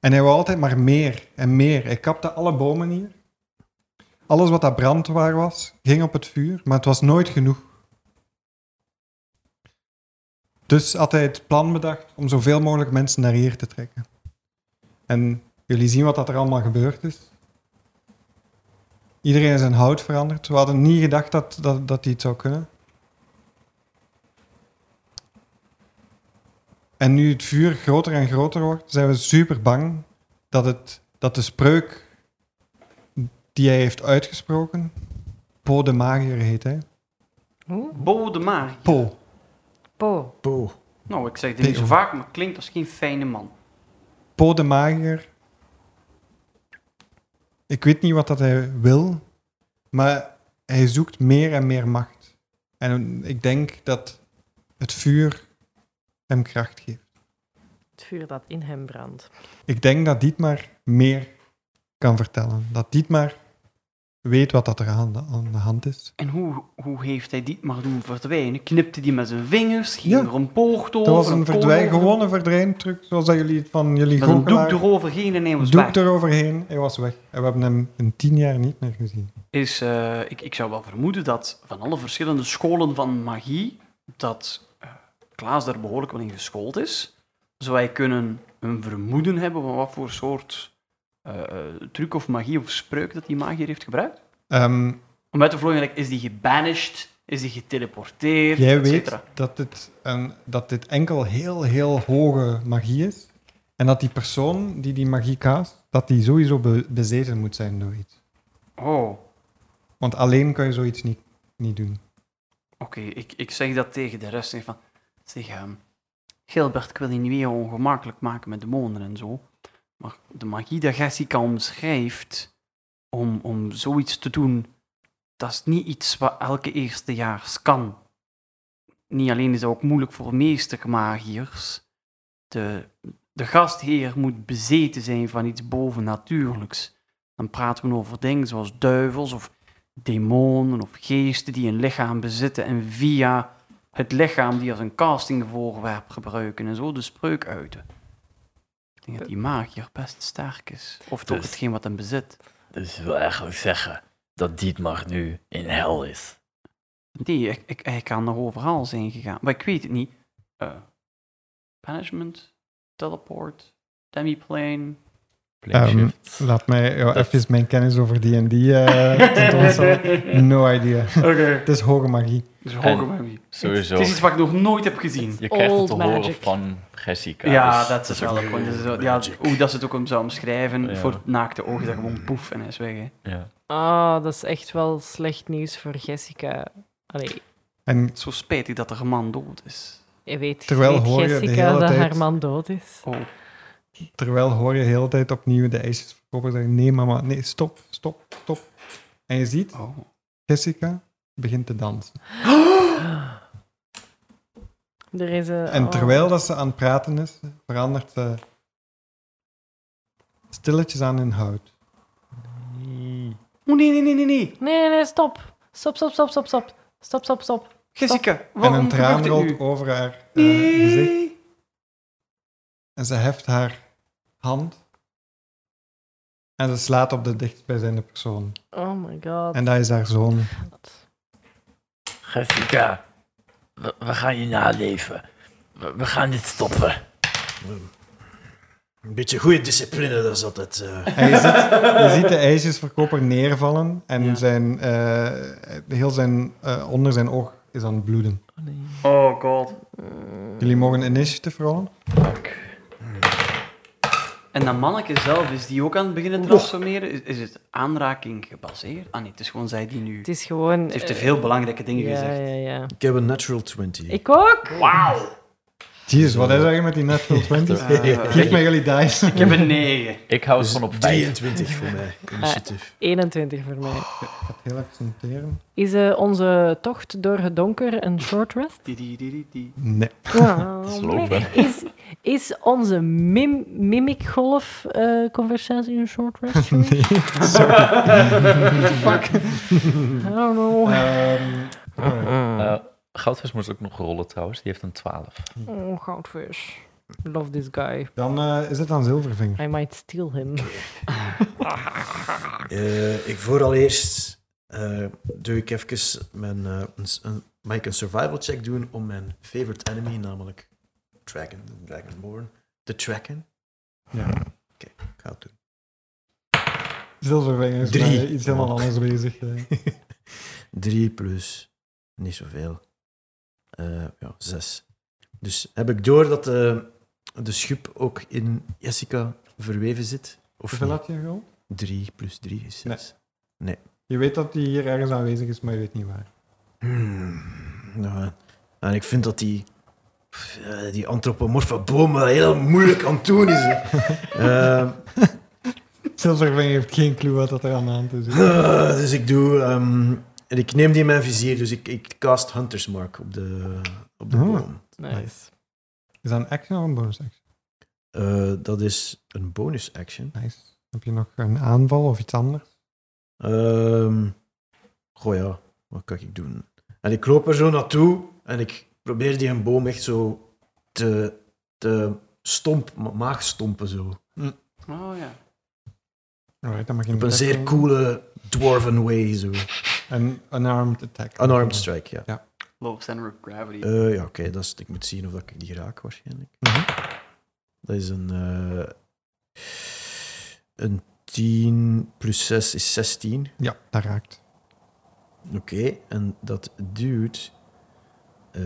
S1: En hij wou altijd maar meer en meer. Hij kapte alle bomen hier. Alles wat dat brandwaar was, ging op het vuur, maar het was nooit genoeg. Dus had hij het plan bedacht om zoveel mogelijk mensen naar hier te trekken. En jullie zien wat dat er allemaal gebeurd is. Iedereen is in hout veranderd. We hadden niet gedacht dat, dat, dat die het zou kunnen. En nu het vuur groter en groter wordt, zijn we super bang dat, het, dat de spreuk die hij heeft uitgesproken. Po de Magier heet hij.
S3: Bodemaar.
S1: Po.
S4: Po.
S2: Poe.
S3: Nou, ik zeg dit niet zo vaak, maar klinkt als geen fijne man.
S1: Po de Magier. Ik weet niet wat dat hij wil, maar hij zoekt meer en meer macht. En ik denk dat het vuur hem kracht geeft.
S4: Het vuur dat in hem brandt.
S1: Ik denk dat Dietmar meer kan vertellen. Dat Dietmar weet wat dat er aan de, aan de hand is.
S3: En hoe, hoe heeft hij Dietmar doen verdwijnen? Knipte die met zijn vingers? Ging
S1: Ja.
S3: er een poort over?
S1: Dat was een
S3: kool
S1: verdwijn,
S3: over?
S1: gewone verdwijntruc, zoals dat jullie het van jullie
S3: Met een doek
S1: goochelaar-
S3: eroverheen en hij was
S1: doek
S3: weg.
S1: eroverheen, hij was weg. En we hebben hem in tien jaar niet meer gezien.
S3: is, eh, ik, ik zou wel vermoeden dat van alle verschillende scholen van magie, dat eh, Klaas daar behoorlijk wel in geschoold is. Zou wij kunnen een vermoeden hebben van wat voor soort eh, eh, truc of magie of spreuk dat die magier heeft gebruikt?
S1: Ehm,
S3: Om uit te vloeien, like, is die gebanished? Is die geteleporteerd?
S1: jij
S3: et
S1: weet
S3: cetera?
S1: dat dit, een, dat dit enkel heel, heel hoge magie is. En dat die persoon die die magie kaast, dat die sowieso be- bezeten moet zijn door iets.
S3: Oh, oké.
S1: Want alleen kan je zoiets niet, niet doen.
S3: Ik, ik zeg dat tegen de rest. Zeg van, zeg, ehm, Gilbert, ik wil je niet weer ongemakkelijk maken met demonen en zo. Maar de magie dat Jessica omschrijft, om, om zoiets te doen, dat is niet iets wat elke eerstejaars kan. Niet alleen is dat ook moeilijk voor meestermagiërs. De, de gastheer moet bezeten zijn van iets bovennatuurlijks. Dan praten we over dingen zoals duivels of demonen of geesten die een lichaam bezitten en via het lichaam die als een castingvoorwerp gebruiken en zo de spreuk uiten. Ik denk dat die magier best sterk is. Of toch
S5: Dus-
S3: hetgeen wat hem bezit.
S5: Dus je wil eigenlijk zeggen dat Dietmar nu in hel is.
S3: Nee, ik, ik, hij kan nog overal zijn gegaan. Maar ik weet het niet. Eh Punishment, teleport, demiplane.
S7: Plane
S1: Ehm,
S7: shift.
S1: Laat mij jou
S7: Dat-
S1: even mijn kennis over die en die
S3: (laughs)
S1: tentoonstellen. No idea.
S3: Oké.
S1: Het is hoge magie.
S3: Dus
S7: En-
S3: hoge magie.
S7: Sowieso.
S3: Het is iets wat ik nog nooit heb gezien.
S7: Je krijgt het
S4: Old
S7: te horen
S4: magic.
S7: van Jessica.
S3: Ja,
S7: dus
S3: dat is wel
S7: ook-
S3: een point. Dat is wel- Ja,
S2: Magic.
S3: hoe dat ze het ook om zou omschrijven,
S7: Ja.
S3: voor het naakte oog, is dat gewoon poef en hij is weg. hè.
S7: Ja.
S4: Ah, dat is echt wel slecht nieuws voor Jessica. Allee,
S1: En
S3: Het is Zo spijtig dat er een man dood is.
S4: je weet
S1: Terwijl
S4: weet
S1: hoor je de
S4: Jessica
S1: hele
S4: dat
S1: tijd-
S4: haar man dood is.
S3: Oh,
S1: terwijl hoor je de hele tijd opnieuw de ijsjesverkoper zeggen: nee, mama, nee, stop, stop, stop. En je ziet,
S3: oh. (gasps)
S1: Jessica begint te dansen.
S4: Er is een,
S1: En
S4: oh.
S1: terwijl dat ze aan het praten is, verandert ze stilletjes aan in hout.
S3: Oh, nee, nee, nee, nee, nee.
S4: Nee, nee, stop. Stop, stop, stop, stop, stop. Stop, stop, stop.
S3: Jessica,
S1: En
S3: waarom
S1: een traan
S3: gebeurt dit
S1: rolt
S3: nu?
S1: over haar eh, gezicht.
S3: Nee.
S1: En ze heft haar hand. En ze slaat op de dichtstbijzijnde persoon.
S4: Oh my god.
S1: En dat is haar zoon.
S5: Jessica, we, we gaan je naleven. We, we gaan dit stoppen.
S2: Een beetje goede discipline, dat is altijd... eh,
S1: En je ziet, je ziet de ijsjesverkoper neervallen. En
S3: Ja.
S1: zijn, eh, heel zijn, eh, onder zijn oog is aan het bloeden.
S6: Oh god.
S1: Jullie mogen een initiative rollen.
S3: En dat manneke zelf, is die ook aan het beginnen te transformeren? Is, is het aanraking gebaseerd? Ah nee, het is gewoon zij die nu...
S4: Het is gewoon... eh,
S3: Ze heeft te veel belangrijke dingen
S4: ja,
S3: gezegd.
S4: ja, ja.
S2: ik heb een natural 20.
S4: Ik ook.
S1: Jezus, wat is er met die natural
S2: (laughs)
S1: 20?
S3: Eh,
S1: Geef mij jullie dice.
S3: ik heb een negen. (laughs)
S7: Ik hou het
S2: Dus
S7: van op 5.
S2: 23 voor mij, initiatief.
S4: 21 voor mij.
S1: Ik ga het heel even noteren.
S4: Is eh, onze tocht door het donker een short
S3: (laughs)
S4: rest?
S3: Die, die, die, die, die.
S1: Nee.
S4: Oh,
S7: is
S4: nee.
S7: lopen.
S4: is, is onze mim, mimic-golf eh, conversatie een short
S3: (laughs)
S4: rest? Nee. Fuck. I don't know.
S1: Ehm,
S3: Hmm.
S7: Eh, Goudvis moest ook nog rollen trouwens. Die heeft een 12.
S3: Eh.
S4: Oh, goudvis. Love this guy.
S1: dan eh, is het aan Zilvervinger.
S4: I might steal him.
S2: Eh, ik vooraleerst eh, doe ik even mijn... eh, een, s- een, mag ik een survival check doen om mijn favorite enemy, namelijk Dragon, de Dragonborn, te tracken?
S1: Ja.
S2: Oké, ik ga het doen.
S1: Zilvervinger is
S2: Drie.
S1: met, eh, iets helemaal anders bezig. eh.
S2: (laughs) 3 plus niet zoveel. Eh ja, 6. Dus heb ik door dat de, de schub ook in Jessica verweven zit? Of
S1: Hoeveel had je gerold?
S2: 3 plus 3 is 6.
S1: Je weet dat die hier ergens aanwezig is, maar je weet niet waar.
S2: Nou, en ik vind dat die, pff, eh, die antropomorfe boom wel heel moeilijk aan het doen
S1: (laughs)
S2: is. hè. Eh,
S1: Zilvervinger heeft geen clue wat dat er aan de hand is.
S2: eh, dus ik doe... ehm, en ik neem die in mijn vizier, dus ik, ik cast Hunter's Mark op de, op de
S1: Oh.
S2: boom.
S4: Nice.
S1: Is dat een action of een bonus action?
S2: Eh, dat is een bonus action.
S1: Nice. Heb je nog een aanval of iets anders?
S2: Ehm goh ja, wat kan ik doen? En ik loop er zo naartoe en ik probeer die een boom echt zo te, te stomp, ma- maagstompen zo.
S3: Oh ja.
S1: Alright, dan mag je
S2: Op een zeer
S1: attack
S2: coole dwarven way zo.
S1: doen. Een unarmed attack.
S2: Unarmed strike, ja.
S3: Low center of gravity.
S2: Eh, ja, oké, dat is. ik moet zien of dat ik die raak waarschijnlijk.
S1: Mhm.
S2: Dat is een... eh, een 10 plus 6 is 16.
S1: Ja, dat raakt.
S2: Oké, en dat duwt. eh,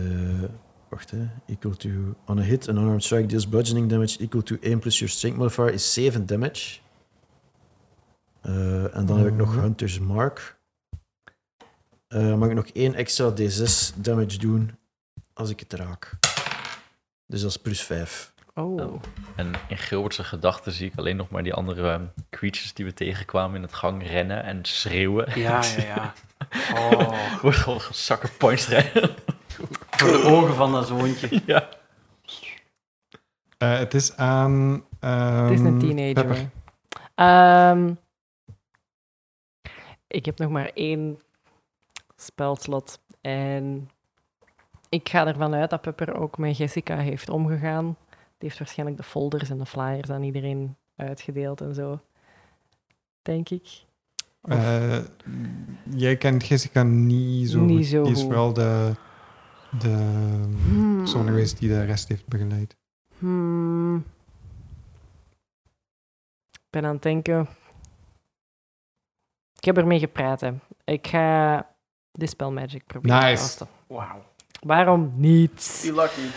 S2: wacht hè. Equal to. On a hit, an unarmed strike deals bludgeoning damage equal to 1 plus your strength modifier is 7 damage. Eh, en dan heb ik nog
S1: Mhm.
S2: Hunter's Mark. Eh, mag ik nog één extra D6 damage doen als ik het raak? Dus dat is plus 5.
S4: Oh.
S7: En in Gilbert's gedachten zie ik alleen nog maar die andere ehm, creatures die we tegenkwamen in het gang rennen en schreeuwen. (laughs)
S3: Ja, ja, ja. Oh,
S7: Wordt al sucker (laughs) points rennen.
S3: voor de ogen van dat zoontje.
S7: ja.
S1: Eh, het is aan.
S4: Het is een
S1: ehm,
S4: teenager.
S1: Pepper.
S4: Ehm, ik heb nog maar één spelslot. En ik ga ervan uit dat Pepper ook met Jessica heeft omgegaan. Die heeft waarschijnlijk de folders en de flyers aan iedereen uitgedeeld en zo. Denk ik.
S1: Eh, jij kent Jessica niet zo
S4: Niet
S1: goed.
S4: zo
S1: Die is
S4: goed.
S1: wel de, de persoon geweest die de rest heeft begeleid.
S4: Hmm. Ik ben aan het denken. Ik heb ermee gepraat. Hè. Ik ga Dispel Magic proberen te
S1: Nice.
S4: casten.
S6: Wauw.
S4: Waarom niet?
S6: Be lucky.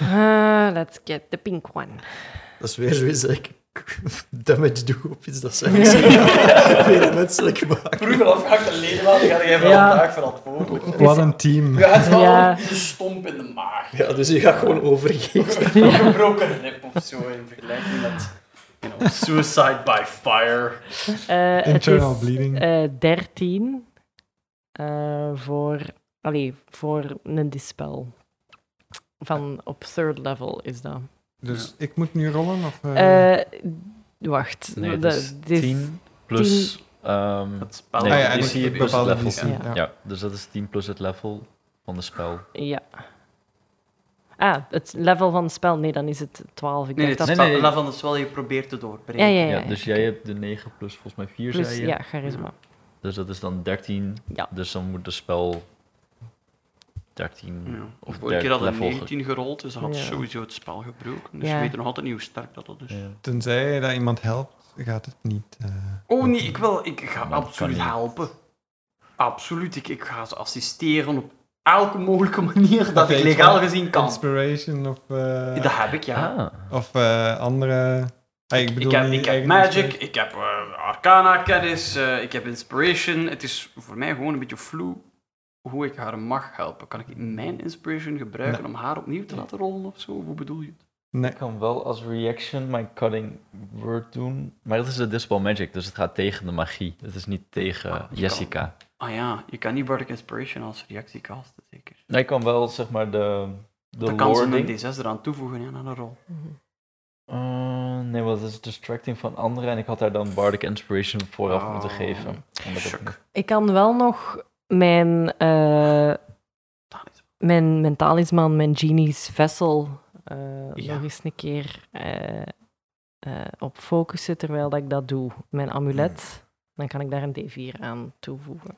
S4: Ah, let's get the pink one.
S2: Dat is weer zoiets dat ik (laughs) damage doe op iets dat (laughs) zijn weer menselijk maakt.
S6: Vroeger afgehaakte ledematen ga jij wel
S4: Ja.
S6: vandaag verantwoordelijk.
S1: Wat een team.
S6: Je hebt wel
S4: Ja.
S6: een stomp in de maag.
S2: Ja, dus je gaat gewoon overgeven.
S6: Een gebroken rib of zo in vergelijking met you know, suicide by fire.
S4: Eh, het
S1: Internal
S4: is
S1: bleeding.
S4: eh, 13 eh, voor, allee, voor een dispel. Van op third level is dat.
S1: Dus ik moet nu rollen? Of, eh,
S4: Eh, wacht.
S7: Nee,
S4: dat-
S7: dat is
S4: dit is-
S7: 10 plus... ehm,
S6: Het spel
S7: nee,
S1: Ah ja,
S7: die
S1: en
S7: zie
S1: ik-
S7: je
S1: ik
S7: plus het
S1: bepaal de
S7: level.
S1: DC,
S7: Ja.
S1: ja.
S7: Ja, dus dat is 10 plus het level van de spel.
S4: Ja. Ah, het level van het spel. Nee, dan is het 12. Ik
S3: Nee,
S4: dacht
S3: het
S4: dat
S3: is
S7: nee, nee.
S3: level dat is wel je probeert te doorbreken.
S4: Ja, ja, ja.
S7: Ja, dus jij hebt de 9 plus volgens mij 4,
S4: Plus,
S7: zei je.
S4: ja, charisma.
S7: Dus dat is dan 13.
S4: Ja.
S7: Dus dan moet de spel 13
S3: Ja.
S7: Mm. of
S3: Vorige keer had
S7: 13
S3: een
S7: level.
S3: 19 gerold, dus dat had
S4: Ja.
S3: sowieso het spel gebroken. Dus
S4: Ja.
S3: we weten nog altijd niet hoe sterk dat dat is.
S7: Ja.
S1: Tenzij dat iemand helpt, gaat het niet. eh.
S3: Oh nee, ik wil, ik ga
S7: dat
S3: absoluut
S7: kan niet.
S3: helpen. Absoluut, ik, ik ga ze assisteren op elke mogelijke manier dat
S1: Oké,
S3: ik
S1: ik
S3: legaal
S1: zal-
S3: gezien kan.
S1: Inspiration of, eh,
S3: Dat heb ik, ja.
S7: Ah,
S1: of eh, andere. Ah, ik, bedoel
S3: Ik heb,
S1: niet
S3: ik heb
S1: eigen
S3: magic,
S1: inspiration.
S3: ik heb eh, arcana kennis, eh, ik heb inspiration. Het is voor mij gewoon een beetje vloe hoe ik haar mag helpen. Kan ik mijn inspiration gebruiken om haar opnieuw te laten rollen of zo? Hoe bedoel je?
S1: Nee.
S7: ik kan wel als reaction mijn cutting word doen. Maar dat is de dispel magic, dus het gaat tegen de magie. Het is niet tegen
S3: Ah, je
S7: Jessica.
S3: Ah ja, je kan niet Bardic Inspiration als reactie casten, zeker.
S7: Nee, ik kan wel zeg maar de, de
S3: Dan kan ze
S7: lording.
S3: een D6 eraan toevoegen ja, aan een rol.
S4: Mhm.
S7: Eh, nee, want dat is distracting van anderen en ik had daar dan bardic inspiration vooraf
S3: Oh,
S7: moeten geven. Omdat dat
S3: shuck.
S7: niet-
S4: Ik kan wel nog mijn, eh mijn, mijn talisman, mijn genie's vessel, eh,
S3: Ja.
S4: nog eens een keer eh, eh, op focussen terwijl dat ik dat doe. Mijn amulet. Dan kan ik daar een D4 aan toevoegen.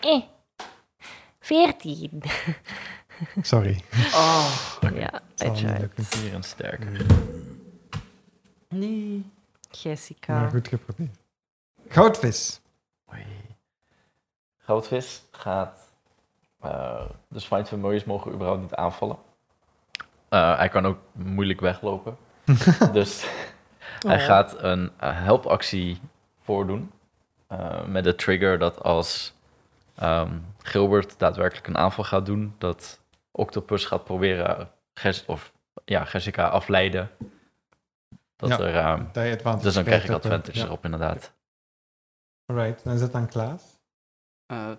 S4: Eh. 14.
S1: Sorry.
S3: Oh,
S4: Ja,
S1: zal niet
S4: uiteraard.
S1: lukken.
S7: Hier een sterk.
S3: Mm. nee.
S4: Jessica.
S1: Maar goed geprobeerd.
S7: (laughs)
S1: Goudvis.
S7: Oei. Goudvis gaat. eh, dus Find Familiars mogen überhaupt niet aanvallen. Eh, hij kan ook moeilijk weglopen. dus hij
S4: Oh.
S7: gaat een eh, helpactie voordoen. eh, met de trigger dat als ehm, Gilbert daadwerkelijk een aanval gaat doen, dat Octopus gaat proberen Ges- of, ja, Jessica afleiden. Dat
S1: Ja.
S7: er, ehm,
S1: Dat je advantage
S7: dus dan krijg ik
S1: krijgt op,
S7: advantage
S1: eh, ja.
S7: erop, inderdaad.
S1: Alright, dan is dat aan Klaas.
S3: Eh,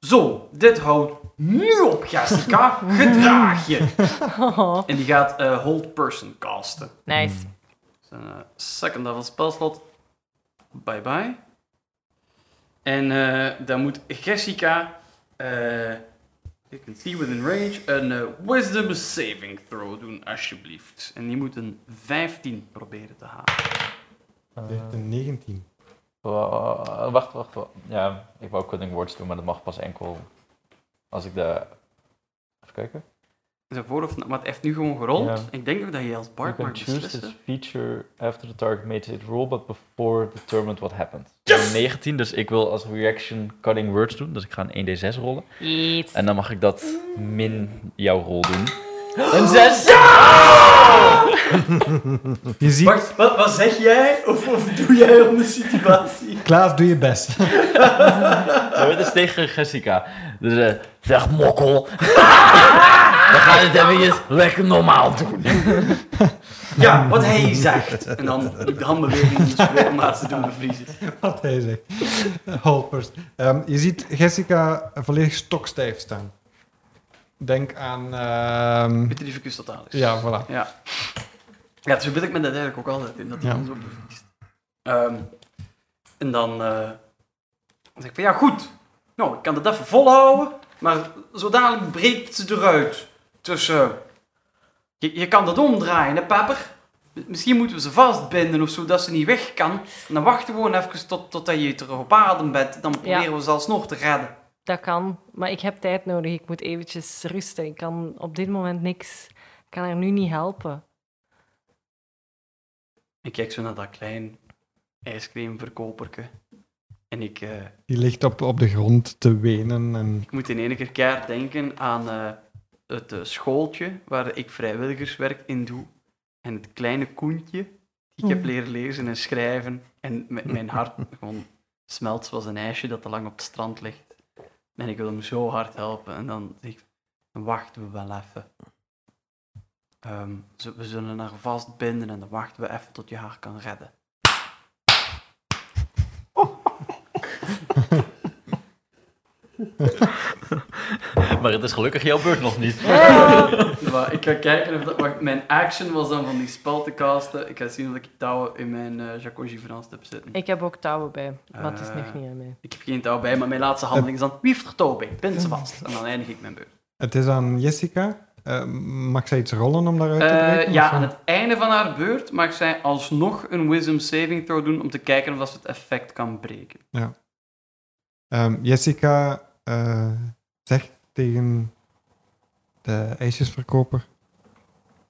S3: zo, dit houdt nu op, Jessica. Gedraag je.
S4: Oh,
S3: En die gaat eh, Hold Person casten.
S4: nice.
S3: Dus een eh, second level spelslot. Bye bye. En eh, dan moet Jessica, eh you can see within range, een eh, Wisdom Saving Throw doen, alsjeblieft. En die moet een 15 proberen te halen.
S1: Hij heeft een 19.
S7: Eh, Wa- wacht, wacht, wacht. Ja, ik wou cutting words doen, maar dat mag pas enkel als ik de... Even kijken.
S3: Is dat voor of na? Maar het heeft nu gewoon gerold.
S7: Ja.
S3: Ik denk ook dat je als
S7: You
S3: Bart
S7: can
S3: maar
S7: choose this
S3: beslissen.
S7: feature after the target made it roll, but before determined what happened. Yes! 19, dus ik wil als reaction cutting words doen. Dus ik ga een 1d6 rollen.
S2: Hmm.
S4: Yes.
S7: En dan mag ik dat min jouw rol doen. Een 6!
S1: (laughs) Je ziet,
S6: Wacht, wat, wat zeg jij of, dus. of doe jij om de situatie?
S1: Klaas, doe je best. (laughs)
S7: Dat is tegen Jessica. Dus eh, zeg mokkel.
S6: (laughs)
S7: We gaan het eventjes lekker normaal doen.
S3: Ja, wat hij zegt. En dan doe ik de handbeweging om de spreekmaat te doen bevriezen.
S1: Wat hij zegt. Holpers. Ehm, je ziet Jessica volledig stokstijf staan. Denk aan... ehm,
S3: Met die focus totaal is.
S1: ja, voilà.
S3: Ja. Ja, zo ben ik me dat eigenlijk ook altijd in, dat hij
S1: Ja.
S3: ons opbevriest. Ehm, en dan eh, dan zeg ik van, ja goed, nou, ik kan dat even volhouden, maar zo dadelijk breekt ze eruit. Dus eh, je, je kan dat omdraaien, hè, papper? Misschien moeten we ze vastbinden of zo, dat ze niet weg kan. En dan wachten we gewoon even tot, totdat je terug op adem bent. Dan proberen we ze alsnog te redden.
S4: Dat kan, maar ik heb tijd nodig. Ik moet eventjes rusten. Ik kan op dit moment niks. Ik kan haar nu niet helpen.
S3: Ik kijk zo naar dat klein ijscreamverkoperke. En ik... eh,
S1: Die ligt op, op de grond te wenen. En,
S3: Ik moet in enige keer denken aan eh, het eh, schooltje waar ik vrijwilligerswerk in doe. En het kleine koentje die ik heb
S4: Mm.
S3: leren lezen en schrijven. En m- mijn hart (laughs) gewoon smelt zoals een ijsje dat te lang op het strand ligt. En ik wil hem zo hard helpen. En dan zeg ik, dan wachten we wel even. Ehm, ze- we zullen haar vastbinden en dan wachten we even tot je haar kan redden.
S7: Maar het is gelukkig jouw beurt nog niet.
S3: Maar ik ga kijken of dat... Wacht, mijn action was dan van die spel te casten. Ik ga zien of ik touwen in mijn eh jacuzzi Frans heb zitten. Ik...
S4: Ik heb ook touwen bij, maar het is
S3: Eh.
S4: nog niet aan mij.
S3: heb geen touw bij, maar mijn laatste handeling is dan... Wie heeft er touw bij? Bind ze vast. En dan eindig ik mijn beurt.
S1: het is aan Jessica. Eh, mag zij iets rollen om daaruit te breken?
S3: Eh, ja,
S1: of zo?
S3: aan het einde van haar beurt mag zij alsnog een wisdom saving throw doen om te kijken of dat ze het effect kan breken.
S1: Ehm, Jessica eh, zegt tegen de ijsjesverkoper: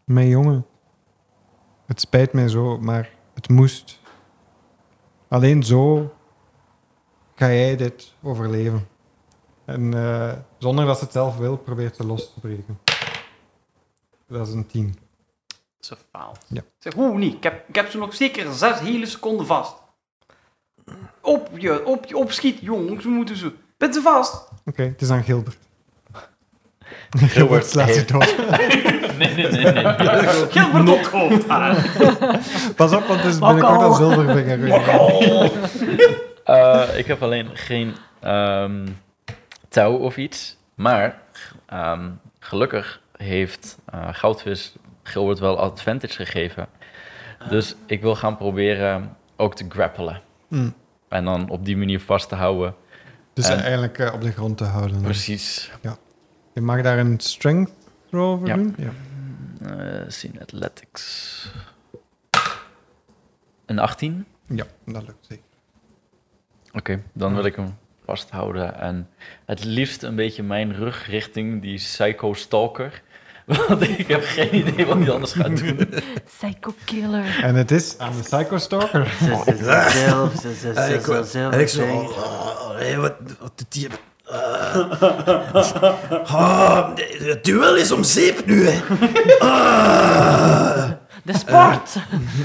S1: Mijn jongen, het spijt mij zo, maar het moest. Alleen zo ga jij dit overleven. En eh, zonder dat ze het zelf wil, probeert ze los te breken. Dat is een 10.
S3: Ze faalt.
S1: Ja.
S3: Ik Zeg, hoe niet? Ik heb, ik heb ze nog zeker zes hele seconden vast. Op je, op je, opschiet, jongens. We moeten ze... Bind ze vast.
S1: Oké, het is aan Gilbert. Gilbert (laughs) slaat je
S7: heeft-
S1: dood.
S7: Nee, nee, nee. nee.
S3: Gilbert, op het hoofd aan.
S1: Pas op, want het is binnenkort aan Zilvervinger.
S7: Eh, ik heb alleen geen ehm, touw of iets. Maar ehm, gelukkig heeft eh, Goudvis Gilbert wel advantage gegeven. Dus ik wil gaan proberen ook te grappelen.
S1: Hmm.
S7: En dan op die manier vast te houden.
S1: Dus
S7: En-
S1: eigenlijk eh, op de grond te houden.
S7: Precies.
S1: Je mag daar een strength throw over
S7: Ja.
S1: doen. Ja.
S7: Eh, Zien Athletics. Een 18.
S1: ja, dat lukt zeker.
S7: Oké, dan wil ik hem vasthouden en het liefst een beetje mijn rug richting die psycho-stalker. (laughs) Want ik heb geen idee wat hij anders gaat doen. (laughs)
S4: Psycho killer.
S1: En het is aan de Psycho Stalker.
S2: En ik, en ik zo... oh, oh, oh, hey, wat, wat doet die... Eh, ah, het duel is om zeep nu, hè. Ah.
S4: De sport!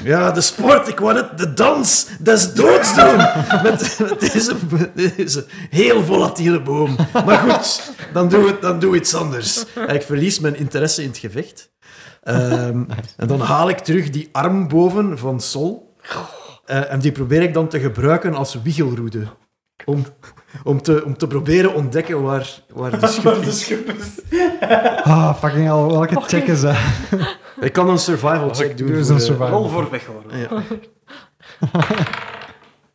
S2: Ja, de sport, ik wou het, de dans des doods doen. Met, met deze, met deze heel volatiele boom. Maar goed, dan doe, het, dan doe iets anders. En ik verlies mijn interesse in het gevecht. Ehm, en dan haal ik terug die arm boven van Sol. Eh, en die probeer ik dan te gebruiken als wiegelroede. Om, om, te, om te proberen ontdekken waar, waar (laughs) de schip is.
S1: (laughs) Ah, fucking hell, welke check is dat?
S2: Ik kan een survival check doen.
S1: Doe eens
S2: voor,
S1: een
S2: eh,
S1: survival.
S3: Rol voor weg, hoor.
S2: ja.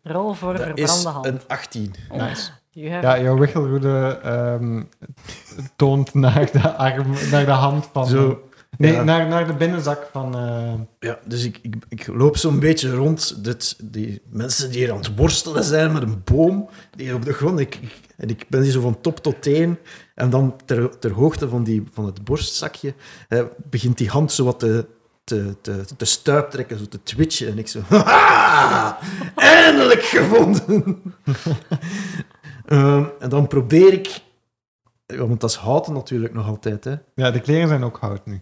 S4: Rol voor
S2: Dat is
S4: verbrande
S2: een
S4: hand.
S2: 18.
S4: You have-
S1: Ja, jouw wichelroede ehm, toont naar de, arm, naar de hand van...
S2: Zo.
S1: Nee,
S2: ja.
S1: naar, naar de binnenzak van... eh,
S2: Ja, dus ik, ik, ik loop zo'n beetje rond. Dit, die mensen die hier aan het worstelen zijn met een boom, die hier op de grond. Ik, ik- en ik ben hier zo van top tot teen. En dan ter, ter hoogte van, die, van het borstzakje eh, begint die hand zo wat te, te, te, te stuiptrekken, zo te twitchen. En ik zo, (laughs) haha, eindelijk gevonden. (laughs) Ehm, en dan probeer ik, ja, want dat is houten natuurlijk nog altijd, hè.
S1: ja, de kleren zijn ook hout nu.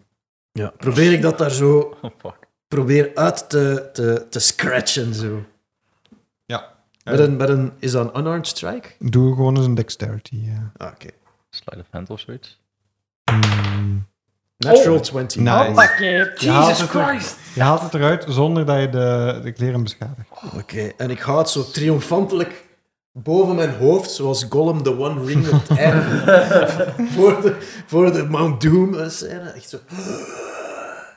S2: Ja, probeer ik dat daar zo
S7: Oh, fuck.
S2: probeer uit te, te, te scratchen zo.
S1: Ja.
S2: Met een, met een, is dat een unarmed strike?
S1: Eh, Doe gewoon eens een dexterity. eh. ja.
S2: Ah, oké.
S7: Slide of hand of zoiets.
S1: Hmm.
S2: Natural 20.
S1: Nice. Je haalt,
S3: Jesus
S1: het er-
S3: Christ.
S1: je haalt het eruit zonder dat je de, de kleren beschadigt.
S2: Oké, en ik houd zo triomfantelijk boven mijn hoofd, zoals Gollum de One Ring op het einde. voor, de, voor de Mount Doom eh, scène. Echt zo...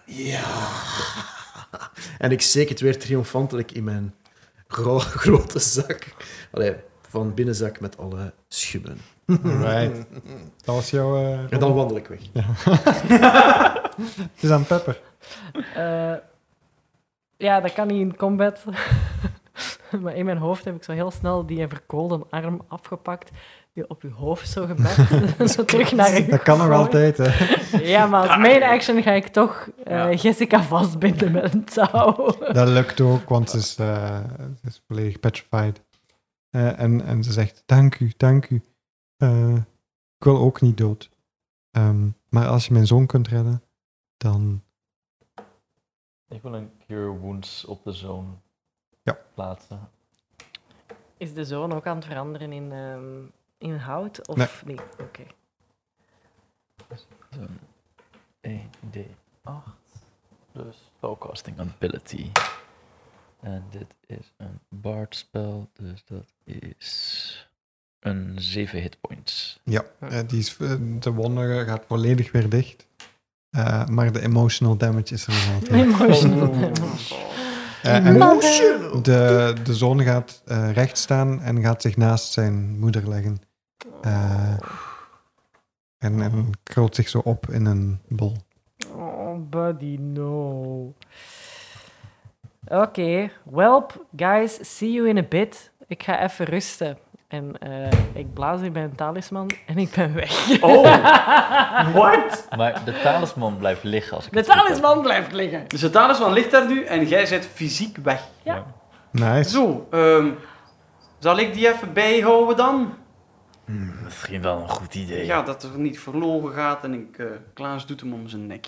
S2: Ja. En ik steek het weer triomfantelijk in mijn gro- grote zak. Allee, van binnenzak met alle schubben.
S1: Right. Dat was jouw... eh,
S2: En dan wandel ik weg.
S1: Het is aan Pepper.
S4: Eh, ja, dat kan niet in combat. (laughs) maar in mijn hoofd heb ik zo heel snel die verkoolde arm afgepakt. Die op uw hoofd zo gebekt. (laughs) zo terug naar u.
S1: Dat kan nog
S4: gegooid.
S1: altijd, hè.
S4: Ja, maar als main action ga ik toch eh,
S7: Ja.
S4: Jessica vastbinden met een (laughs) touw.
S1: Dat lukt ook, want ze is, eh, ze is volledig petrified. Eh, en, en ze zegt, dank u, dank u. Eh, ik wil ook niet dood. Ehm, maar als je mijn zoon kunt redden, dan...
S7: Ik wil een Cure Wounds op de zoon
S1: Ja.
S7: plaatsen.
S4: Is de zoon ook aan het veranderen in, ehm, in hout? Of
S1: Nee.
S4: nee? Oké.
S7: Zo'n 1d8 plus spellcasting Dus ability. En dit is een bard spel, dus dat is een 7 hitpoints.
S1: Ja, eh, die is, eh, de wonder gaat volledig weer dicht. Eh, maar de emotional damage is er nog altijd.
S4: Emotional
S6: Oh.
S4: damage.
S1: Eh, en
S2: Emotional.
S1: de, de zoon gaat eh, recht staan en gaat zich naast zijn moeder leggen. Eh, en, en krult zich zo op in een bol.
S4: Oh, buddy, no. Oké, welp, guys, see you in a bit. Ik ga even rusten. En eh, ik blaas in mijn talisman en ik ben (laughs) weg.
S6: Oh, what?
S7: Maar de talisman blijft liggen als ik
S4: De
S7: het goed heb.
S4: talisman blijft liggen.
S3: Dus het talisman ligt daar nu en jij zit fysiek weg.
S1: Nice.
S3: Zo, ehm, zal ik die even bijhouden dan?
S5: Misschien wel een goed idee.
S3: Ja, dat er niet verloren gaat en ik, eh, Klaas doet hem om zijn nek.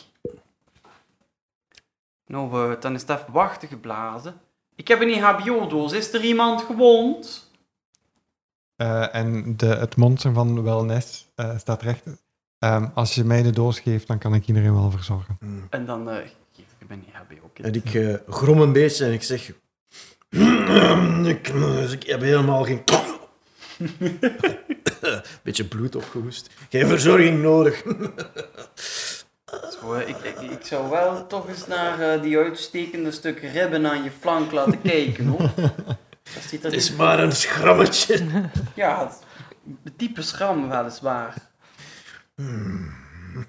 S3: Nou, eh, dan is het even wachten geblazen. Ik heb een E HBO-doos. Is er iemand gewond?
S1: Eh, en de, het monster van Wellness eh, staat recht. Ehm, als je mij de doos geeft, dan kan ik iedereen wel verzorgen.
S3: En dan eh, geef ik hem een HBO-kit.
S2: En ik eh, grom een beetje en ik zeg... (clears throat) ik, ik heb helemaal geen... (laughs) beetje bloed opgehoest. Geen verzorging nodig.
S3: Zo, eh, ik, ik, ik zou wel toch eens naar eh, die uitstekende stukken ribben aan je flank laten kijken, hoor. Dat ziet er
S2: Het
S3: niet-
S2: is maar een schrammetje.
S3: Ja, het- een diepe schram weliswaar. (laughs)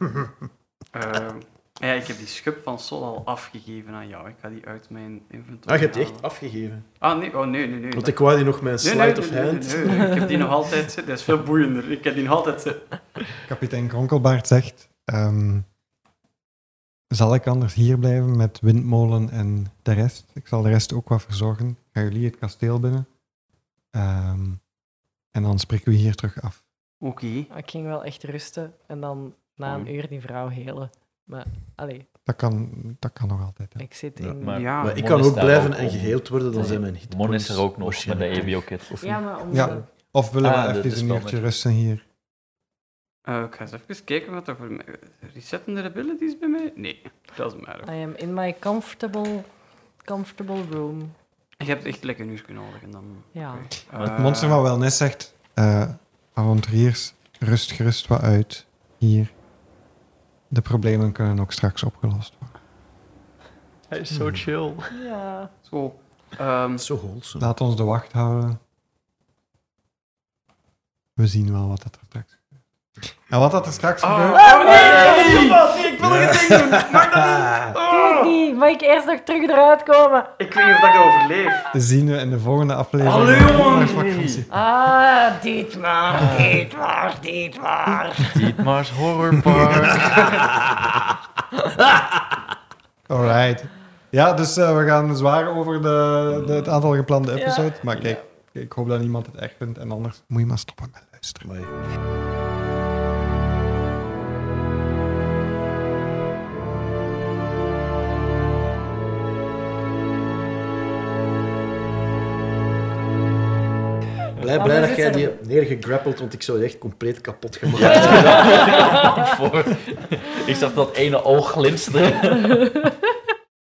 S3: Ehm, ja, ik heb die schub van Sol al afgegeven aan jou. Ik ga die uit mijn inventory
S2: Ah, je hebt die
S3: halen.
S2: echt afgegeven.
S3: Ah, nee, oh, nee, nee, nee.
S2: Want
S3: dat-
S2: ik wou die nog mijn
S3: nee,
S2: slide
S3: nee,
S2: of
S3: nee, nee,
S2: hand.
S3: nee, nee, Ik heb die nog altijd zitten. Dat is veel boeiender. Ik heb die nog altijd zitten.
S1: Kapitein Kronkelbaard zegt: ehm, Zal ik anders hier blijven met windmolen en de rest? Ik zal de rest ook wat verzorgen. Gaan jullie het kasteel binnen? Ehm, en dan spreken we hier terug af.
S3: Oké.
S4: Ik ging wel echt rusten en dan na een
S3: Mooi.
S4: uur die vrouw helen. Maar, allee,
S1: Dat kan, dat kan nog altijd. hè.
S4: ik zit
S2: Ja,
S4: in...
S7: maar-
S3: Ja.
S2: Maar ik
S7: Mon
S2: kan
S7: Ah, is
S2: ook
S7: daar
S2: blijven
S7: ook
S2: en
S7: om.
S2: geheeld worden, dan zijn mijn hitpoints
S7: Mon is er ook nog met de E
S2: waarschijnlijk weg.
S7: EBO-kit.
S2: Of
S4: Ja,
S7: (laughs)
S2: niet?
S4: maar om
S1: Ja.
S4: de-
S1: Of willen we
S7: Ah, de- de
S1: even een
S7: spelmaker.
S1: uurtje rusten hier?
S3: Eh, ik ga eens even kijken wat er voor mij... Resettende abilities bij mij? Nee, dat is maar.
S4: I am in my comfortable, comfortable room.
S3: Je hebt echt lekker nieuws kunnen nodig en dan...
S4: Ja.
S3: Oké.
S1: Het
S3: Eh,
S1: monster van Wellness zegt: eh Avonturiers, rust gerust wat uit. Hier. De problemen kunnen ook straks opgelost worden.
S7: Hij is zo chill.
S4: Ja.
S3: Zo. ehm,
S2: Zo wholesome.
S1: Laat ons de wacht houden. We zien wel wat dat er straks gebeurt. En wat dat er straks
S3: Oh,
S1: gebeurt...
S3: oh, nee, nee, nee, ik wil geen ding doen. Mag dat niet?
S4: Doe ik
S3: Oh,
S4: niet, mag ik eerst nog terug eruit komen?
S3: ik weet niet of dat ik dat overleef.
S1: zien we in de volgende aflevering.
S3: Hallo,
S1: van
S3: jongen.
S1: Ondervakantie.
S4: Ah, dit maar, dit maar, dit maar.
S7: Dietmar's Horror Park.
S1: Alright. Ja, dus eh, we gaan zwaar over de, de- het aantal geplande
S4: Ja.
S1: episodes. Maar kijk, ik hoop dat niemand het echt vindt. En anders moet je maar stoppen met luisteren.
S2: Amai. Blij, blij
S4: Anders
S2: dat
S4: is
S2: jij
S4: er-
S2: die hebt neergegrappeld, want ik zou die echt compleet
S7: (laughs)
S2: kapot gemaakt
S7: Voor- Ik zag dat ene oog glinsteren.